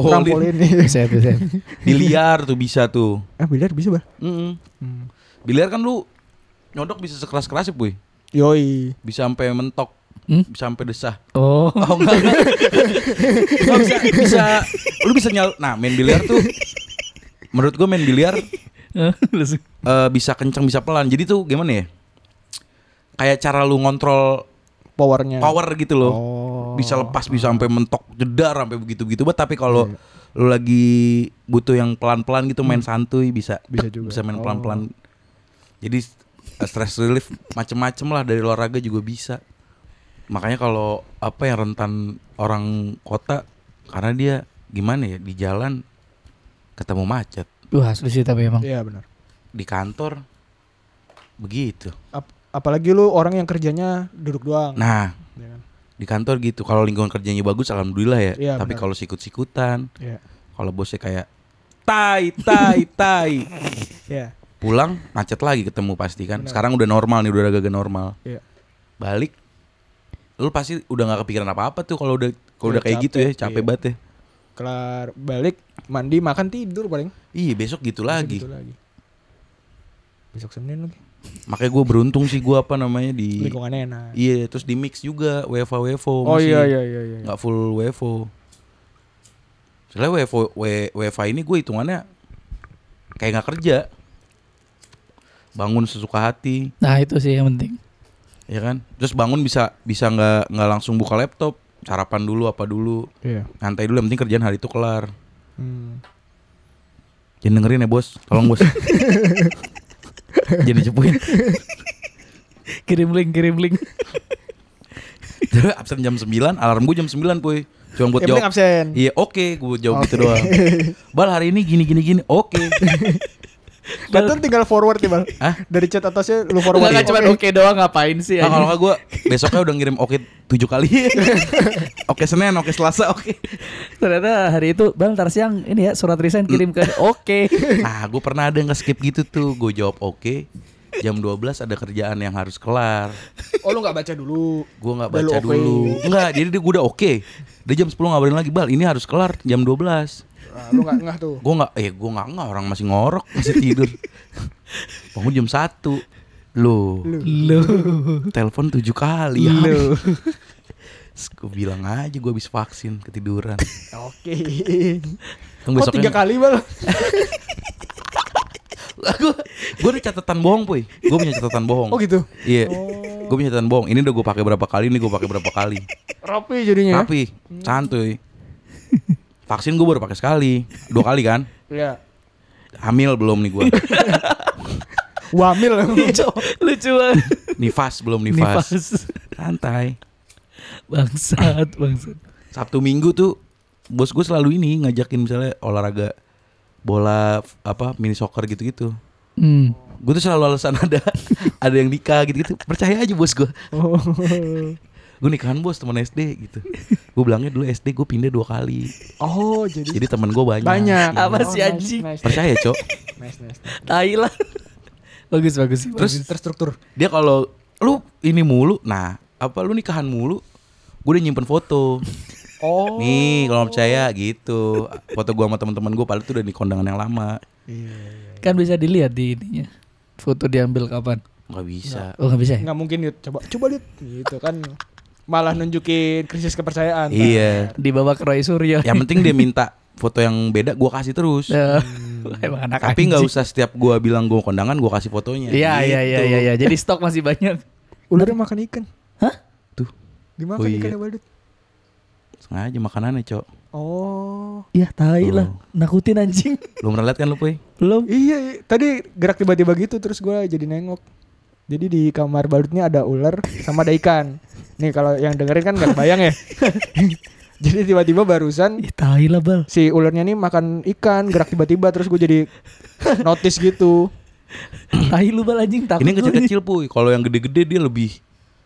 tampolin.
[LAUGHS]
Trampolin. Buset, buset.
di liar tuh bisa tuh
eh biliar bisa bah?
Mm-mm.
Hmm.
biliar kan lu nyodok bisa sekeras-kerasnya puy
Yoi.
bisa sampai mentok
Hmm?
bisa sampai desah
[LAUGHS] Oh,
Oh enggak, enggak. Lu bisa, bisa lu bisa nyal. Nah, main biliar tuh menurut gua main biliar
langsung.
eh, bisa kencang bisa pelan. Jadi tuh gimana ya? kayak cara lu ngontrol
powernya
power gitu loh.
oh
Bisa lepas, bisa sampai mentok, jedar sampai begitu-begitu. But tapi kalau lu lagi butuh yang pelan-pelan gitu main santuy bisa
Bisa
tek,
juga.
bisa
Oh.
main pelan-pelan. Jadi uh, stress relief macem-macem lah dari olahraga juga bisa. Makanya kalau apa yang rentan orang kota karena dia gimana ya di jalan ketemu macet,
Wah asli sih tapi emang
iya benar
di kantor begitu.
Ap- apalagi lu orang yang kerjanya duduk doang
Nah,
ya kan?
di kantor gitu. Kalau lingkungan kerjanya bagus alhamdulillah ya.
Iya,
Tapi
benar.
kalau sikut-sikutan,
Iya.
kalau bosnya kayak tai tai tai.
Iya.
Pulang macet lagi ketemu pasti kan.
Benar.
Sekarang udah normal nih, udah agak normal.
Iya.
Balik lu pasti udah nggak kepikiran apa-apa tuh kalau udah kalau
Udah
udah kayak gitu ya,
capek,
capek
iya.
banget ya.
kelar balik mandi makan tidur paling
Iya, besok gitu lagi.
Gitu lagi besok senin lagi
Makanya gue beruntung sih gue apa namanya di
lingkungannya enak
Iya, terus di mix juga WFA WFO
oh
masih.
iya iya iya iya
nggak full WFO. Soalnya WFO, W- WFA ini gue hitungannya kayak nggak kerja, bangun sesuka hati,
Nah itu sih yang penting
ya kan? Terus bangun bisa bisa nggak nggak langsung buka laptop, sarapan dulu apa dulu,
iya
nyantai dulu yang penting kerjaan hari itu kelar.
Hmm.
Jangan dengerin ya bos, tolong bos. Jadi cepuin.
Kirim link kirim link
Terus absen jam 9, alarm gue jam 9 puy. Cuma
Yang penting Eh,
buat jawab.
Ya, absen
Iya oke, gue jawab
Oke.
gitu doang. Bal hari ini gini gini gini, oke.
Datang tinggal forward ya, Bal.
Hah?
Dari chat atasnya lu forward.
Enggak enggak, cuman ya, oke Oh. doang ngapain sih
Iya,
Nah, kalau
anjing.
nggak gue besoknya udah ngirim oke tujuh kali. oke Senin, oke Selasa, oke.
Ternyata hari itu Bang ntar siang ini ya surat resign kirim [LAUGHS] ke Oke
Nah, gue pernah ada yang skip gitu tuh. Gue jawab oke. Jam 12 ada kerjaan yang harus kelar.
Oh, lu enggak baca dulu.
Gue nggak
Udah lu
baca
oke.
dulu. Enggak, jadi dia gue udah oke. Dia jam 10 ngabarin lagi, "Bal, ini harus kelar jam 12."
Nah, lu enggak ngah tuh.
Gue nggak eh gue nggak nggak orang masih ngorok, masih tidur. Bangun jam 1. Loh,
Lu
telepon tujuh kali. [LAUGHS]
Lu
Gue bilang aja gue habis vaksin ketiduran.
Oke.
Kan
Kok tiga kali, Bal?
gue ada catatan bohong puy gue punya catatan bohong
Oh, gitu.
iya gue punya catatan bohong ini udah gue pakai berapa kali ini gue pakai berapa kali
Rapi jadinya. ya?
tapi santuy vaksin gue baru pakai sekali dua kali kan
Iya.
Ya.
hamil belum nih
[LAUGHS]
gue
Wamil.
[LAUGHS] Lucu banget
nifas belum nifas
Nifas
santai
Bangsat Bangsat
sabtu minggu tuh bos gue selalu ini ngajakin misalnya olahraga bola f- apa mini soccer gitu gitu
Hmm
gue tuh selalu alasan ada [LAUGHS] ada yang nikah gitu gitu percaya aja bos gue
Oh.
gue nikahan bos teman SD gitu gue bilangnya dulu SD gue pindah dua kali
Oh, jadi
jadi teman gue banyak
banyak.
Iya.
Apa
Oh,
sih,
nice,
anjing?
Nice, nice,
percaya cok
nice, nice.
Tai lah [LAUGHS] Bagus bagus
Terus
bagus.
terstruktur.
dia kalau lu ini mulu nah apa lu nikahan mulu gue udah nyimpen foto
Oh.
nih kalau nggak percaya gitu foto gue sama teman-teman gue padahal tuh udah di kondangan yang lama
Iya.
Kan bisa dilihat di ininya Foto diambil kapan
nggak bisa
Oh nggak bisa ya
Enggak mungkin, Yud. Coba coba, Yud. Gitu kan. Malah nunjukin krisis kepercayaan.
iya
Di bawah Roy Suryo [LAUGHS]
yang penting dia minta foto yang beda gue kasih terus
Eh, Emang anak
tapi nggak
anjing.
usah setiap gue bilang gue kondangan gue kasih fotonya
Iya iya iya
Gitu.
iya iya. Jadi stok masih banyak.
Ularnya makan ikan.
Hah?
tuh
Dimakan ya,
Oh, iya.
ikannya, Bal, Yud.
sengaja makanannya cok
Oh.
Ya tai
lah.
Nakutin anjing.
lu pernah lihat kan lu puy
Belum.
Iya, iya. tadi gerak tiba-tiba gitu terus gua jadi nengok. Jadi di kamar balutnya ada ular sama ada ikan. Nih kalau yang dengerin kan nggak bayang ya. [LAUGHS] jadi tiba-tiba barusan
Ya tai lah bal. [CLEARS THROAT]
si ularnya nih makan ikan gerak tiba-tiba terus gue jadi notice gitu.
tai lu bal anjing takut.
Ini yang
gua nih.
kecil-kecil puy. Kalau yang gede-gede dia lebih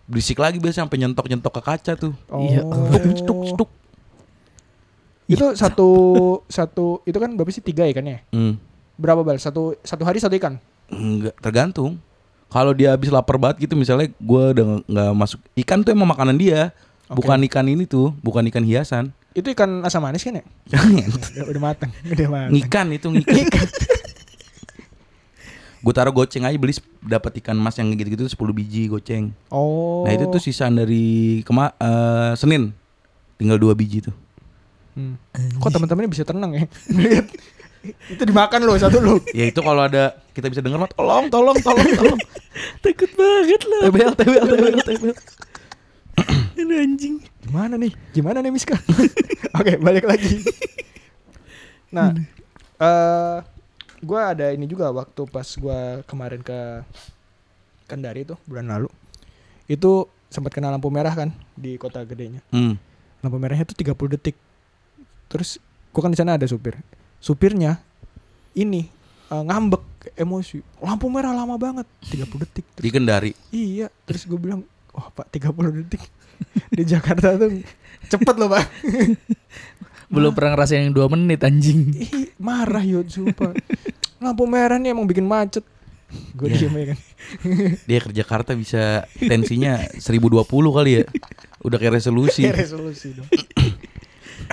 berisik lagi biasanya sampai nyentok-nyentok ke kaca tuh.
Oh.
Iya.
Stuk stuk stuk.
Itu satu satu itu kan berapa sih tiga ikannya?
Hmm.
Berapa bal? Satu satu hari satu ikan.
Enggak, tergantung. Kalau dia habis lapar banget gitu misalnya gua udah nge- nggak masuk ikan tuh emang makanan dia.
Oke.
Bukan ikan ini tuh, bukan ikan hiasan.
Itu ikan asam manis kan ya? Udah, udah matang. [LAUGHS] Udah matang.
ngikan itu ngikan. [LAUGHS] gue taruh goceng aja beli sep- dapat ikan mas yang gitu-gitu tuh 10 biji goceng.
Oh.
Nah, itu tuh sisaan dari kema eh, Senin. Tinggal dua biji tuh.
Hmm. [LAUGHS] Kok teman-temannya bisa tenang ya? Lihat. itu dimakan loh satu loh.
Ya itu kalau ada kita bisa denger mah tolong tolong tolong tolong.
Takut banget lah.
TBL TBL TBL
[CLEARS THROAT]
TBL.
Aduh, anjing.
Gimana nih? Gimana nih Miska? [LAUGHS] Oke, balik lagi. Nah, eh gua ada ini juga waktu pas gua kemarin ke Kendari tuh bulan lalu. Itu sempat kena lampu merah kan di kota gedenya.
Hmm.
Lampu merahnya tuh 30 detik. Terus gua kan di sana ada supir. Supirnya ini eh, ngambek emosi. Lampu merah lama banget, 30 detik. Terus
Di Kendari.
Iya, terus gue bilang, wah pak 30 detik di Jakarta tuh cepet loh pak.
Belum pernah ngerasain yang 2 menit anjing.
Ih, marah yuk sumpah. Lampu merah nih emang bikin macet. Gue
Iya.
diem aja kan.
Dia ke Jakarta bisa tensinya 1020 kali ya. Udah kayak resolusi. Eh,
Kayak resolusi dong.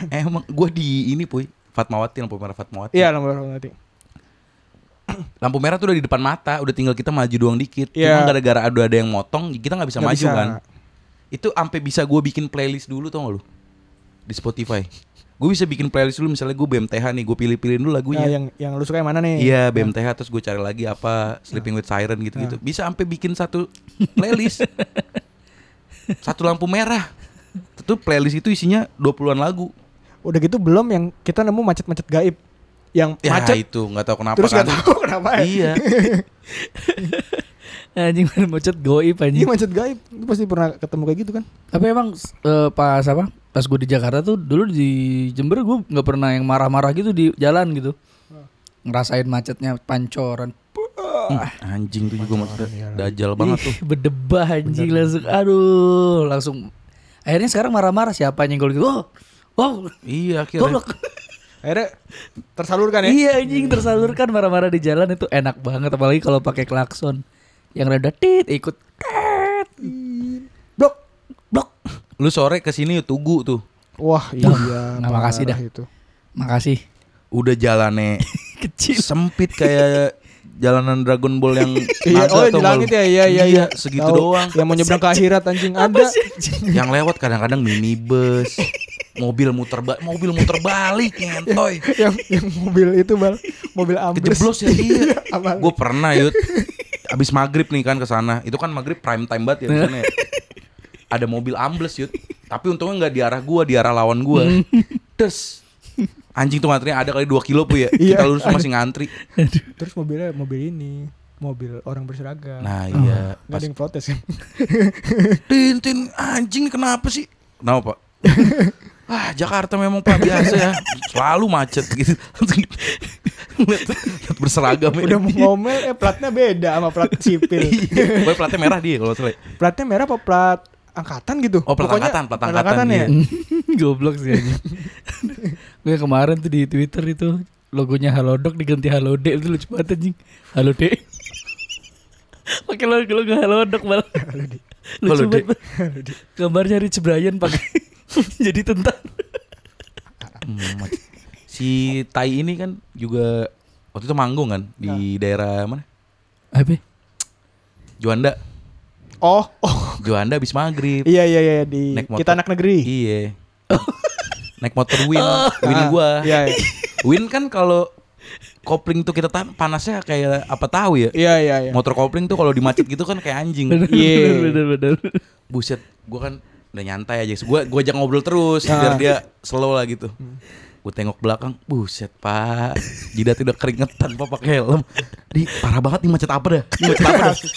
Emang gua di ini puy Fatmawati lampu merah Fatmawati.
Iya lampu merah nanti.
Lampu merah tuh udah di depan mata, udah tinggal kita maju doang dikit.
Iya.
Cuma gara-gara ada ada yang motong, kita nggak bisa
Nggak
maju
bisa.
kan. Itu ampe bisa gue bikin playlist dulu tau gak lu di Spotify. Gue bisa bikin playlist dulu misalnya gue BMTH nih, gue pilih-pilihin dulu
Nah,
lagunya.
yang yang lu suka yang mana nih?
Ah, Iya Ah. BMTH terus gue cari lagi apa Sleeping with Siren gitu-gitu. Bisa sampai bikin satu [LAUGHS] playlist. satu lampu merah. Itu playlist itu isinya 20-an lagu.
Udah gitu belum yang kita nemu macet-macet gaib. Yang
Ya
macet
itu nggak tahu kenapa
terus
kan.
gak tahu kenapa ya.
Iya.
Anjing [LAUGHS] baru macet
[LAUGHS] Ini
goib
Iya.
anjing.
macet gaib. Lu pasti pernah ketemu kayak gitu kan?
Tapi emang eh, pas apa? Pas gue di Jakarta tuh dulu di Jember gue nggak pernah yang marah-marah gitu di jalan gitu. Ngerasain macetnya pancoran.
Hmm, anjing tuh juga maksudnya dajal banget tuh.
Ih, Bedebah anjing langsung. Aduh, langsung. Akhirnya sekarang marah-marah siapa yang nyenggol gitu. Oh, wow,
Iya akhirnya.
goblok.
Akhirnya tersalurkan ya.
[LAUGHS] Iya anjing tersalurkan marah-marah di jalan itu enak banget apalagi kalau pakai klakson. Yang rada tit ikut tet. Blok, blok.
Lu sore ke sini tugu tuh.
Wah iya.
Nah, makasih
parah
dah.
Itu.
Makasih. [LAUGHS]
Udah
[LAUGHS]
jalannya
Kecil.
sempit kayak jalanan Dragon Ball yang
[LAUGHS] Iya,
ada
oh yang
tau
di
nggak
langit
lu?
ya, iya iya iya.
segitu
Tahu. [LAUGHS]
doang.
Yang mau nyebrang ke akhirat anjing ada.
Yang lewat kadang-kadang minibus, mobil muter balik, mobil muter balik nyentoy.
[LAUGHS] yang yang mobil itu bal, mobil ambles.
Kejeblos ya iya.
Apa?
Gue pernah yut Abis maghrib nih kan ke sana. Itu kan maghrib prime time banget ya di
[LAUGHS]
sana ya. Ada mobil ambles yut Tapi untungnya nggak di arah gua, di arah lawan gua.
Hmm.
[LAUGHS] Terus anjing tuh ngantrinya ada kali 2 kilo puy ya.
Iya.
Kita lurus masih ngantri.
[LAUGHS] Terus mobilnya mobil ini, mobil orang berseragam.
Nah iya.
Nggak
Pas
ada yang protes
[LAUGHS]
kan.
Tin, Tin, anjing kenapa sih? Kenapa pak? [LAUGHS] ah Jakarta memang pak biasa ya Selalu macet gitu Langsung gitu. Lihat tuh, lihat berseragam ya.
Udah mau ngomel eh platnya beda sama
[LAUGHS]
plat sipil.
Iya. Pokoknya platnya merah dia kalau nggak salah ya.
platnya merah apa plat angkatan gitu?
Oh, plat angkatan, plat angkatan,
ya.
iya.
[LAUGHS] Goblok sih anjing. Gue kemarin tuh di Twitter itu logonya Halodoc diganti Halode itu lucu banget anjing. Halode. [LAUGHS] Pakai logo logo Halodoc [LAUGHS] malah. Lucu
Halode.
banget. Gambarnya Rich Brian pakai [LAUGHS] jadi tentara.
Hmm, macet. Si Tai ini kan juga Waktu itu manggung kan
Ya.
Di daerah mana?
Apa?
Juanda
Oh, oh.
Juanda abis maghrib
Iya iya iya di
Naik motor.
kita anak negeri.
Iya Naik motor Win Win
Ah,
gua
Iya iya.
Win kan kalau Kopling tuh kita tahan panasnya kayak apa tahu ya
Iya iya iya.
Motor kopling tuh kalau di macet gitu kan kayak anjing.
Bener,
Iya.
bener, bener, bener.
Buset, gua kan udah nyantai aja. Gua gua ajak ngobrol terus
Ah.
biar dia slow lah gitu. Gue tengok belakang, buset pak, jidat udah keringetan pak pakai helm. Di parah banget nih macet apa dah? Ini macet apa dah?
Itu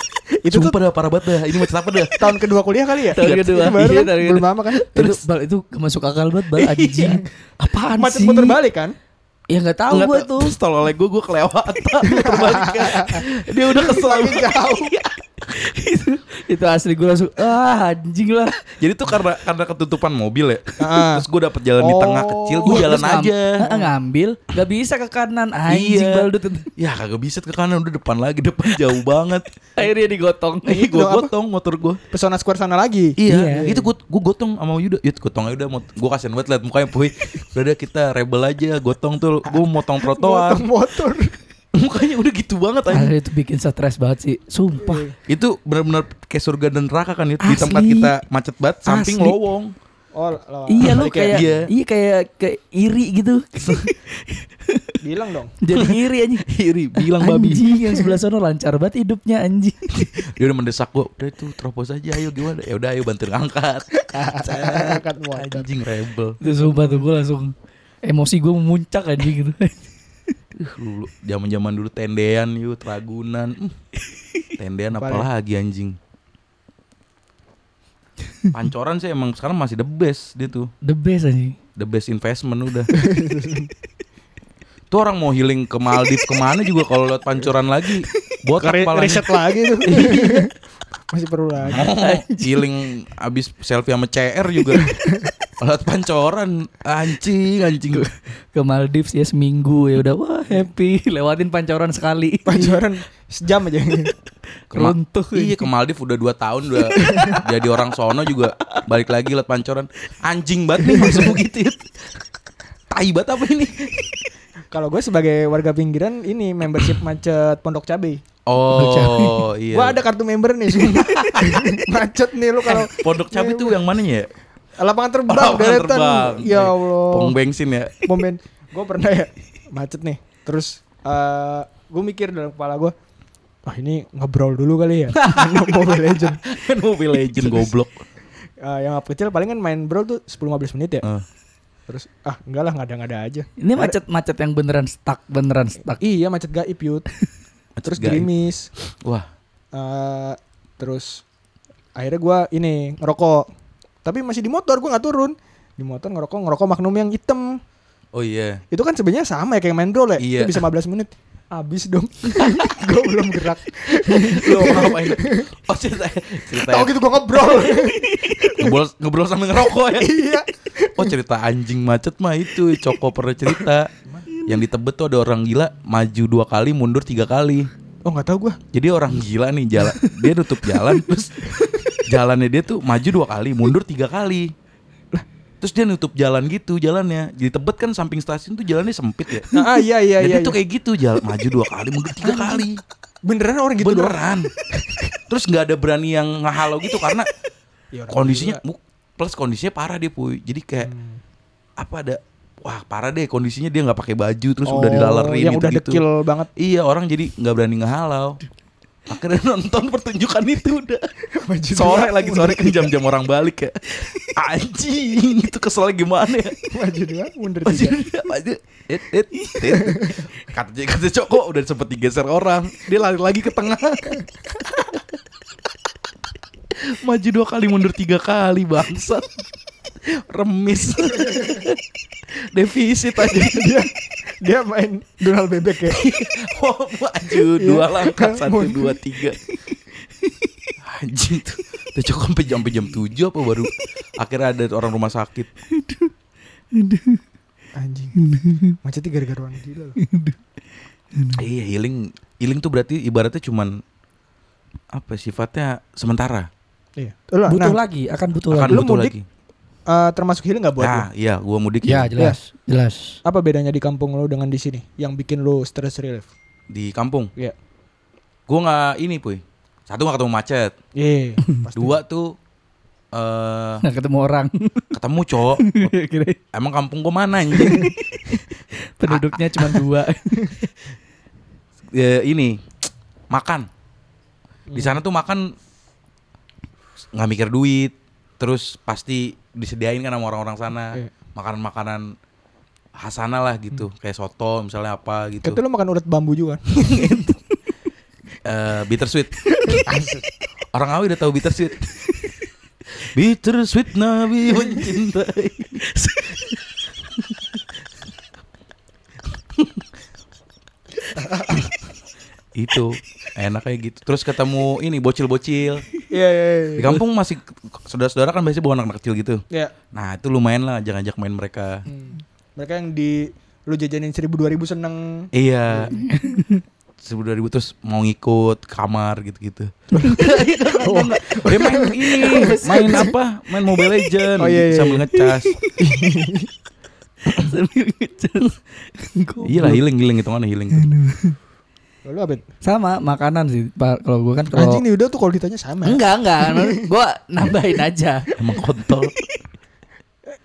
Itu
tuh-
Sumpah dah parah banget dah. Ini macet apa dah?
Tahun kedua kuliah kali ya?
Tahun
Iya,
kedua,
Baru
iya,
kan?
tahun
Belum
kedua.
lama kan?
Terus Iya. bal itu gak masuk akal banget bal anjing. Apaan
Macet
sih?
muter balik kan?
Ya gak tahu gue [LAUGHS] tuh.
Terus tolol oleh gue, gue kelewatan. Terbalik
[LAUGHS]
Dia udah kesel.
Lagi jauh.
Iya. itu, itu asli gue langsung ah anjing lah.
Jadi tuh karena karena ketutupan mobil ya.
Ah.
Terus gue dapet jalan di
Oh.
tengah kecil, gue jalan
Terus ngam-
aja.
Ah, ngambil gak bisa ke kanan anjing
Iya.
baldut.
Ya kagak bisa ke kanan udah depan lagi depan jauh banget.
Akhirnya digotong.
Eh gue
Dong, apa?
gotong motor gue.
Pesona Square sana lagi.
Iya, itu gue gue gotong sama Yuda. Yud gotong aja udah gue kasihan banget liat mukanya puy. Udah deh, kita rebel aja gotong tuh gue motong trotoar.
Motong motor.
[LAUGHS] mukanya udah gitu banget aja.
[LAUGHS] Akhirnya itu bikin stres banget sih. Sumpah.
Itu benar-benar kayak surga dan neraka kan Yud. di
Asli.
tempat kita macet banget samping
Asli.
lowong. [LAUGHS]
Oh, lawan.
Iya lu
Balik ya?
kayak
iya.
[LAUGHS] iya kayak kayak iri gitu.
Bilang dong.
Jadi iri anjing.
Iri, bilang babi.
Anjing yang sebelah sana lancar banget hidupnya anjing.
Dia udah mendesak gua, udah itu terobos aja ayo gimana? Ya udah ayo bantuin
[LAUGHS]
angkat.
Angkat muatan.
Anjing rebel.
Itu sumpah tuh gue langsung emosi gue memuncak anjing gitu.
Ih, dulu zaman-zaman dulu tendean yuk, Ragunan. Hmm. Tendean
Apa
apalagi anjing. Pancoran sih emang sekarang masih the best dia tuh.
The best anjing.
The best investment udah. Tuh orang mau healing ke Maldives kemana juga kalau lewat pancoran lagi botak
Re-
palanya. Iya. Oh,
Reset lagi
[LAUGHS]
tuh. Masih perlu lagi.
Healing abis selfie sama CR juga. lewat pancoran anjing anjing.
Ke Maldives ya seminggu ya udah wah happy. Lewatin pancoran sekali.
Pancoran sejam aja. [LAUGHS]
Kema-
Runtuh.
Iya ke Maldives udah 2 tahun udah [LAUGHS] jadi orang sono juga balik lagi liat pancoran anjing banget nih maksudmu gitu. Tai banget apa ini?
Kalau gue sebagai warga pinggiran ini membership macet Pondok Cabe.
Oh iya.
Gue ada kartu member nih.
[LAUGHS]
sumpah. macet nih lu kalau
Pondok Cabe tuh yang mananya ya?
lapangan terbang
Lapangan
deretan.
terbang.
Ya Allah.
Pong bensin [LAUGHS] ya.
momen gue pernah ya macet nih terus eh gue mikir dalam kepala gue ah ini ngobrol dulu kali ya Main Mobile Legend
Kan mobil legend goblok.
Eh, yang apa kecil paling kan main brawl tuh 10-15 menit ya
Eh.
terus ah enggak lah ngada-ngada aja
Ini macet-macet yang beneran stuck, beneran stuck.
iya macet gaib yut terus
Gaib.
gerimis
Wah,
Eh, terus akhirnya gue ini ngerokok tapi masih di motor gue nggak turun di motor ngerokok ngerokok maknum yang hitam
oh iya.
Itu kan sebenarnya sama ya kayak main brawl ya.
Iya.
Itu bisa 15 menit. Abis [LAUGHS] dong. gue belum gerak.
Lo ngapain? [LAUGHS] Oh cerita cerita
Tahu gitu gue [LAUGHS] ngobrol.
ngobrol ngobrol sambil ngerokok [LAUGHS] ya.
iya.
Oh cerita anjing macet mah itu Coko pernah cerita Yang di Tebet tuh ada orang gila Maju dua kali mundur tiga kali
Oh nggak tahu gue.
Jadi orang gila nih jalan Dia nutup jalan Terus jalannya dia tuh maju dua kali mundur tiga kali Lah, Terus dia nutup jalan gitu jalannya Di Tebet kan samping stasiun tuh jalannya sempit ya
Nah, ah, iya iya
Jadi
iya.
tuh
iya.
kayak gitu jalan Maju dua kali mundur tiga kali
Beneran orang gitu doang.
Beneran Terus nggak ada berani yang ngehalau gitu Karena
Ya, orang
kondisinya
gila.
mu- Plus kondisinya parah dia puy Jadi kayak
Hmm.
apa ada wah parah deh kondisinya dia nggak pakai baju terus udah
Oh,
dilalerin
yang
gitu,
udah dekil banget. [LAUGHS]
iya orang jadi nggak berani ngehalau akhirnya nonton pertunjukan itu udah
Maju
sore
dua,
lagi sore kan jam-jam orang balik ya anjing itu keselnya gimana ya
Maju dua, mundur
Maju
tiga.
dia, maju. It, it, it. Kata kata Coko udah sempet digeser orang Dia lari lagi ke tengah Maju dua kali mundur tiga kali bangsat Remis
[LAUGHS]
Defisit aja
dia [LAUGHS] dia main Donald bebek [LAUGHS] ya.
Oh, Maju dua langkah Satu dua tiga Anjing tuh Tuh Coko sampai jam, sampai jam tujuh apa baru Akhirnya ada orang rumah sakit
Anjing. Macetnya gara-gara orang gila [LAUGHS] loh.
Iya healing Healing tuh berarti ibaratnya cuman Apa ya, sifatnya sementara
Iya. Lah,
Butuh
nah,
lagi, akan butuh
Akan
lagi.
lu
butuh
mudik?
lagi
eh, termasuk healing nggak buat lu?
Nah iya gua mudik ya
Ya jelas, jelas.
Apa bedanya di kampung lo dengan di sini? Yang bikin lo stress relief?
Di kampung
Iya.
Gua gak ini puy Satu gak ketemu macet
[LAUGHS] Iya. pasti.
Dua tuh eh
Nggak ketemu
[LAUGHS]
orang.
Ketemu cowok
Kira
Emang kampung gua mana anjing
penduduknya cuma [LAUGHS] dua.
Ya, Ini Makan Di sana tuh makan nggak mikir duit Terus pasti disediain kan sama orang-orang sana
Iya.
Makanan-makanan Hasana lah gitu Kayak soto misalnya apa gitu
Tapi lo Kan makan urat bambu juga.
eh bittersweet. Orang Awi udah tahu bittersweet. bittersweet Nabi mencintai. itu enak kayak gitu terus ketemu ini bocil-bocil
Iya iya
di kampung masih saudara-saudara kan biasanya bawa anak-anak kecil gitu
iya.
nah itu lumayan lah ajak-ajak main mereka
Hmm. Mereka yang di lu jajanin seribu dua ribu seneng. [LAUGHS]
Iya. Sebelum 2000 terus mau ngikut kamar
[LAUGHS]
gitu-gitu. Dia main ini, main apa? Main Mobile Legend
Oh, iya, iya,
sambil
iya.
ngecas.
Goblok.
Iya lah healing healing itu kan healing.
Lalu apa?
Sama makanan sih. Pak. Kalau gue kan
Anjing
kalau
nih udah tuh kalau ditanya sama.
enggak enggak, gue nambahin aja.
Emang kontol.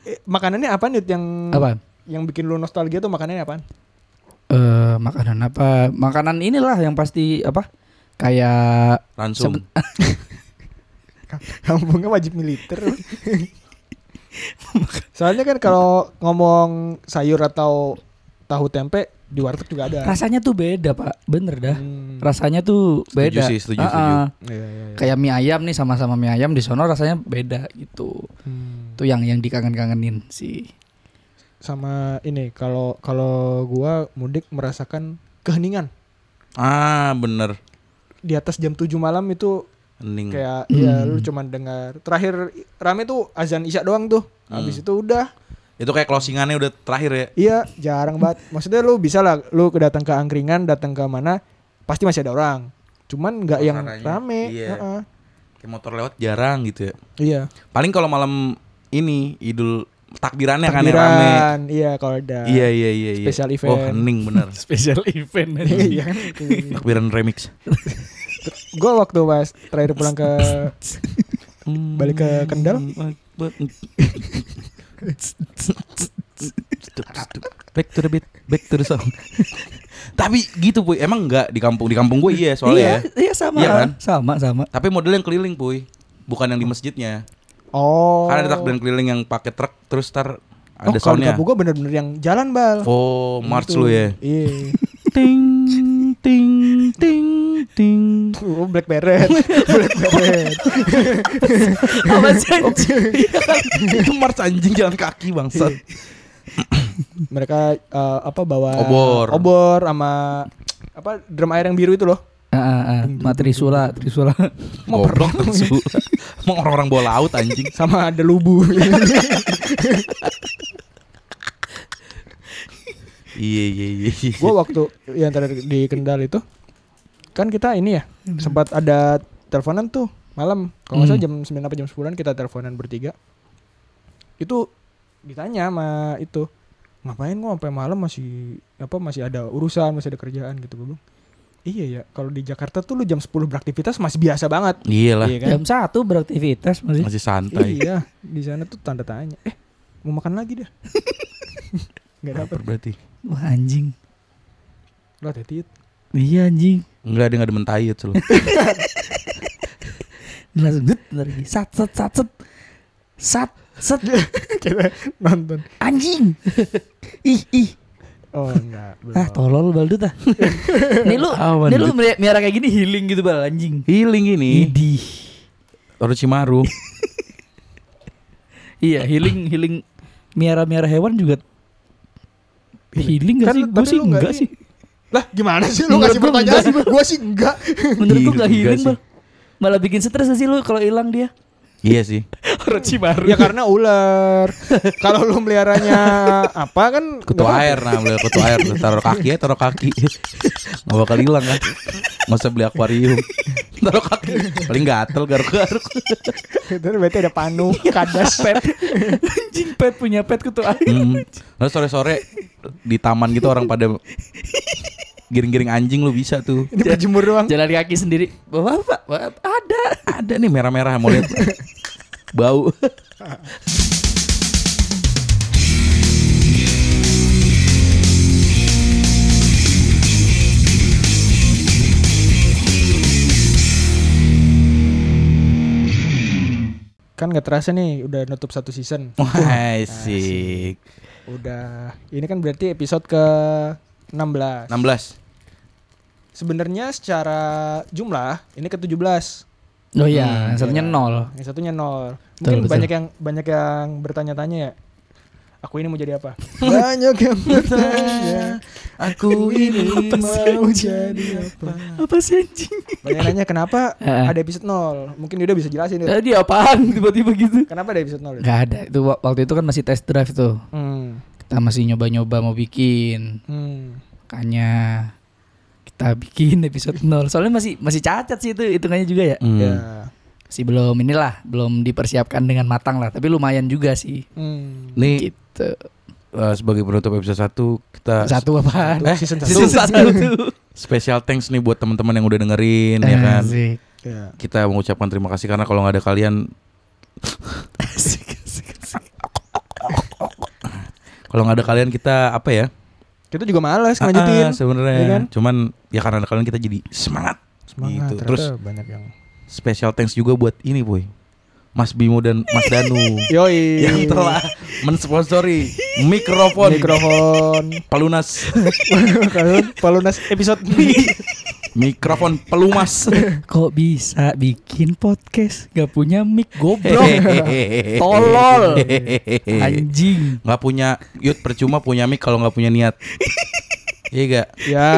Eh, makanannya apa nih yang
Apa?
yang bikin lu nostalgia tuh makanannya apa?
eh, makanan apa? Makanan inilah yang pasti apa? Kayak
Langsung.
Seben-
Kampungnya wajib militer. [LAUGHS] Soalnya kan kalau ngomong sayur atau tahu tempe di warteg juga ada.
rasanya tuh beda, Pak. Bener dah.
Hmm.
Rasanya tuh
Setuju
beda.
sih, setuju,
Ah, ah.
setuju.
Iya, iya, iya.
Kayak mie ayam nih sama-sama mie ayam di sono rasanya beda gitu.
Hmm.
Itu yang yang dikangen-kangenin sih.
Sama ini kalau kalau gua mudik merasakan keheningan
Ah, bener.
di atas jam 7 malam itu
Hening.
kayak
Hmm.
ya lu cuman dengar terakhir rame tuh azan isya doang tuh.
Hmm.
Habis itu udah
Itu kayak closingannya udah terakhir ya.
Iya, jarang banget. Maksudnya lu bisa lah, lu datang ke angkringan, datang ke mana, pasti masih ada orang. Cuman nggak yang
Suasananya.
rame.
Iya.
Heeh.
Kayak motor lewat jarang gitu ya.
Iya.
Paling kalau malam ini Idul takbirannya kan yang rame.
Takbiran, iya kalau ada.
Iya iya iya iya.
Special
Oh,
event.
hening bener.
Special event.
[LAUGHS] Iya kan.
Takbiran remix.
Gue waktu pas terakhir pulang ke balik ke Kendal,
Hmm, back to the beat, back to the song. Tapi gitu puy, emang enggak di kampung di kampung gue iya
iya,
soalnya. ya.
iya sama,
Iya kan?
sama, sama.
Tapi model yang keliling puy, bukan yang di masjidnya.
oh.
Karena Kan ada takbiran keliling yang pakai truk terus tar
Oh,
ada
kalau di
soundnya.
kampung gue bener-bener yang jalan bal.
Oh, march
Gitu.
lu ya.
Iya. [LAUGHS]
Ting ting ting ting.
Oh, Black
[LAUGHS]
Beret. Black Beret.
Apa sih?
[LAUGHS] Itu march anjing jalan kaki bangsat.
Mereka eh, apa bawa
Obor.
obor sama apa drum air yang biru itu loh.
Matrisula, Trisula.
Iya Mau Goblok tuh
ya?
Su. [LAUGHS] Mau orang-orang bola laut anjing.
sama ada lubu.
Iya iya iya. iya.
gue waktu yang terakhir di Kendal itu kan kita ini ya sempat ada teleponan tuh malam kalau nggak salah jam 9 apa jam 10 kita teleponan bertiga itu ditanya sama itu ngapain gua sampai malam masih apa masih ada urusan masih ada kerjaan gitu gue bilang iya ya kalau di Jakarta tuh lu jam 10 beraktivitas masih biasa banget
Iyalah,
iya kan
Jam satu beraktivitas masih.
masih santai.
iya di sana tuh tanda tanya eh mau makan lagi dah [LAUGHS] nggak dapet
Berarti
Wah anjing.
lo hati
Iya anjing.
enggak ada enggak demen tayut lu.
Langsung gut lagi. Sat sat sat sat. Sat sat
[LAUGHS] kita nonton
anjing. ih ih.
oh enggak
Ah
belum.
tolol baldut
[LAUGHS]
ah. nih lu,
Awan,
nih lu
Dut.
mi- miara kayak gini healing gitu bal anjing.
Healing ini
Idih.
Orochimaru.
Iya, [CLEARS THROAT] healing healing miara-miara hewan juga healing gak
Kan
sih?
lu-
Gue
tapi
sih
lu nggak
enggak
ini.
sih.
Lah gimana sih
Menurut
lu ngasih
gua
pertanyaan?
enggak sih,
Gua sih enggak.
Healing
Menurut gue gak
juga
healing
sih.
bal. Malah bikin stres gak sih lu kalau hilang [LAUGHS] dia? kan?
iya sih.
Orochimaru.
ya karena [LAUGHS] ular. Kalau lu meliharanya apa kan
Kutu air nah, beli kutu air tuh taruh kaki ya, taruh
[LAUGHS]
kaki. Enggak bakal hilang kan. Enggak usah beli
[LAUGHS]
akuarium. Taruh kaki. Paling gatel garuk-garuk.
Terus berarti ada panu, [LAUGHS] kadas, Iya, pet.
anjing pet punya pet kutu air.
Hmm. Lalu sore-sore di taman gitu orang pada giring-giring anjing lu bisa tuh.
Ini berjemur doang.
Jalan kaki sendiri. Bapak, bapak, bapak, ada.
Ada nih merah-merah mau
[LAUGHS]
lihat. Bau.
Kan nggak terasa nih udah nutup satu season.
Wah, Asik.
Udah. Ini kan berarti episode ke 16.
16.
Sebenarnya secara jumlah ini ke 17.
[LAUGHS] Oh iya, yang satunya nol.
Yang satunya nol. Mungkin
Betul, betul.
banyak yang banyak yang bertanya-tanya ya. Aku ini mau jadi apa? banyak yang bertanya. [LAUGHS]
Aku
Apa sih, anjing?
Apa sih anjing?
Pertanyaannya kenapa
Heeh.
ada episode 0? Mungkin Yuda bisa jelasin Yud.
Tadi Eh, apaan [LAUGHS] tiba-tiba gitu?
Kenapa ada episode 0?
Gak ada. Itu wa- waktu itu kan masih test drive tuh.
Hmm.
Kita masih nyoba-nyoba mau bikin.
Hmm.
Makanya kita [LAUGHS] bikin episode nol. Soalnya masih masih cacat sih itu hitungannya juga ya.
Hmm.
Ya.
Masih belum inilah, belum dipersiapkan dengan matang lah. Tapi lumayan juga sih.
Hmm.
Nih
Gitu.
eh, sebagai penutup episode 1 kita
Satu apaan?
Eh,
season
Nah, [LAUGHS] Season
satu.
satu.
special thanks nih buat teman-teman yang udah dengerin ya kan.
[LAUGHS] Asik.
Ya.
Kita mengucapkan terima kasih karena kalau nggak ada kalian
Asik, asik, asik.
kalau nggak ada kalian kita apa ya?
Kita juga males ngelanjutin.
Ah, sebenarnya.
Iya kan?
Cuman ya karena kalian kita jadi semangat.
Semangat.
Gitu.
Ternyata
Terus
banyak yang
special thanks juga buat ini, boy. Mas Bimo dan Mas Danu
Yoi.
yang telah mensponsori mikrofon
mikrofon.
pelunas,
Kalian pelunas episode
mikrofon pelumas.
Kok bisa bikin podcast Gak punya mic
[LAUGHS]
goblok
Hehehe.
Tolol.
Hehehe. [LAUGHS]
Anjing
nggak punya yut percuma punya mic kalau nggak punya niat iya gak
ya.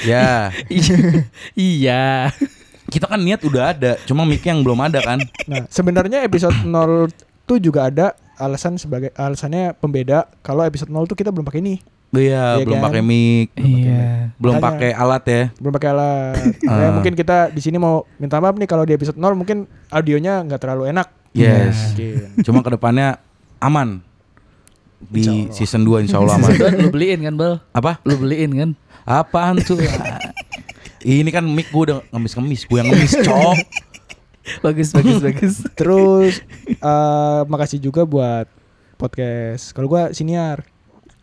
ya
Iya. Iya
kita kan niat udah ada cuma mic yang belum ada kan
Nah, sebenarnya episode 0 tuh juga ada alasan sebagai alasannya pembeda kalau episode 0 tuh kita belum pakai ini.
iya
Iya
belum
kan?
pakai mic
Iya
belum
Makanya.
pakai alat ya
Belum pakai alat. Ya,
Ah.
mungkin kita di sini mau minta maaf nih kalau di episode 0 mungkin audionya nggak terlalu enak.
yes
Iya. Mungkin.
cuma kedepannya aman di
Insya Allah.
season 2 insya Allah aman
Season dua Lu beliin kan Bal
apa
Lu beliin kan
apaan tuh ini kan mic gue udah ngemis-ngemis gue yang ngemis cok
Bagus bagus bagus
[LAUGHS]
Terus eh makasih juga buat podcast. Kalau gua siniar.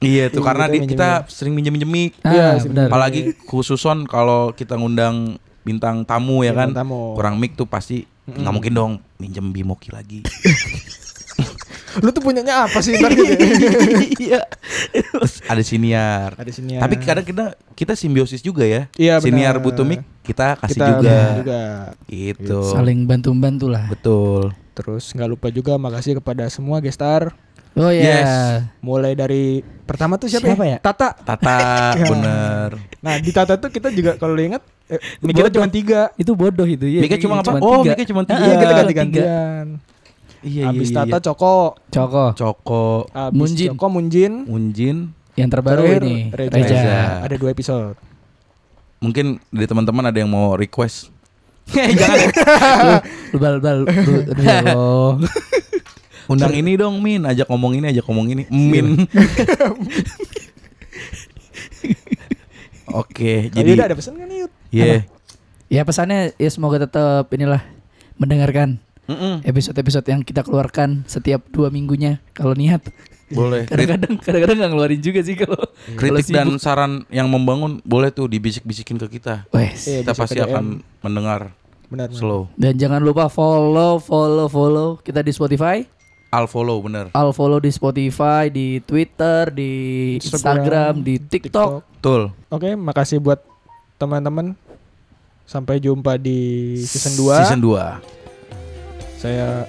iya
Iya,
tuh karena
kita
di- kita sering minjem-minjem mic
Iya,
Ah
sih,
benar
apalagi khususon kalau kita ngundang bintang tamu ya
Bintang
kan
Iya, tamu.
kurang mic tuh pasti nggak
Mm-mm.
mungkin dong minjem bimoki lagi
Lu tuh punyanya apa sih ntar gitu?
[LAUGHS]
Iya
ada siniar
Ada siniar.
tapi kadang kita kita simbiosis juga ya
Iya, benar.
siniar butuh mic kita kasih
kita
juga
juga. Iya.
gitu
Saling bantu-bantu lah
betul
Terus nggak lupa juga makasih kepada semua gestar.
Oh iya
Yes.
Mulai dari pertama tuh siapa,
Siapa ya?
Tata. [LAUGHS]
Tata bener
Nah di Tata tuh kita juga kalau lu inget eh, mic kita
Bodoh.
cuma tiga.
Itu bodoh itu ya.
Mika cuma apa?
Cuman
Oh,
tiga.
Mika cuma tiga.
Iya kita
Ah, tiga.
ganti-gantian.
iya,
Abis
iya,
Tata
iya.
Coko,
Coko
Coko
abis
Munjin.
Coko Munjin.
Unjin
yang terbaru
terakhir
ini
Reza.
Reja. [LAUGHS]
Reza.
Ada dua episode. Oh,
mungkin dari teman-teman ada yang mau request jangan
[LAUGHS] Lu bal bal lu aduh, ya Allah.
undang ini dong Min ajak ngomong ini ajak ngomong ini [LAUGHS] Min Oke,
Jadi udah
jadi
ada pesan kan Yud?
ya.
Ya pesannya ya semoga tetap inilah mendengarkan
Mm-mm.
episode-episode yang kita keluarkan setiap dua minggunya kalau niat.
Boleh. Krit-
Kadang-kadang kadang-kadang nggak ngeluarin juga sih kalau kalau
Kritik dan
sibuk.
saran yang membangun boleh tuh dibisik-bisikin ke kita.
Wes.
Iya.
Kita
bisa
pasti
ke DM.
akan mendengar
Benar. benar.
slow.
Dan jangan lupa follow, follow, follow kita di Spotify,
Al follow bener.
all follow di Spotify, di Twitter, di Instagram, di TikTok.
Betul.
Oke, makasih buat teman-teman. Sampai jumpa di season 2.
Season 2.
Saya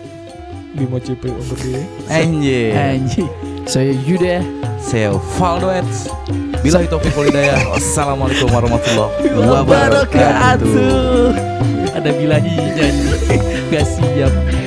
Bimo Cipri undur diri.
Anjir.
Anjing. Saya Yuda.
Saya Valdo Eds. Bila itu [LAUGHS] Hidayah. Wassalamualaikum warahmatullahi wabarakatuh.
Ada bilanya nyanyi Gak siap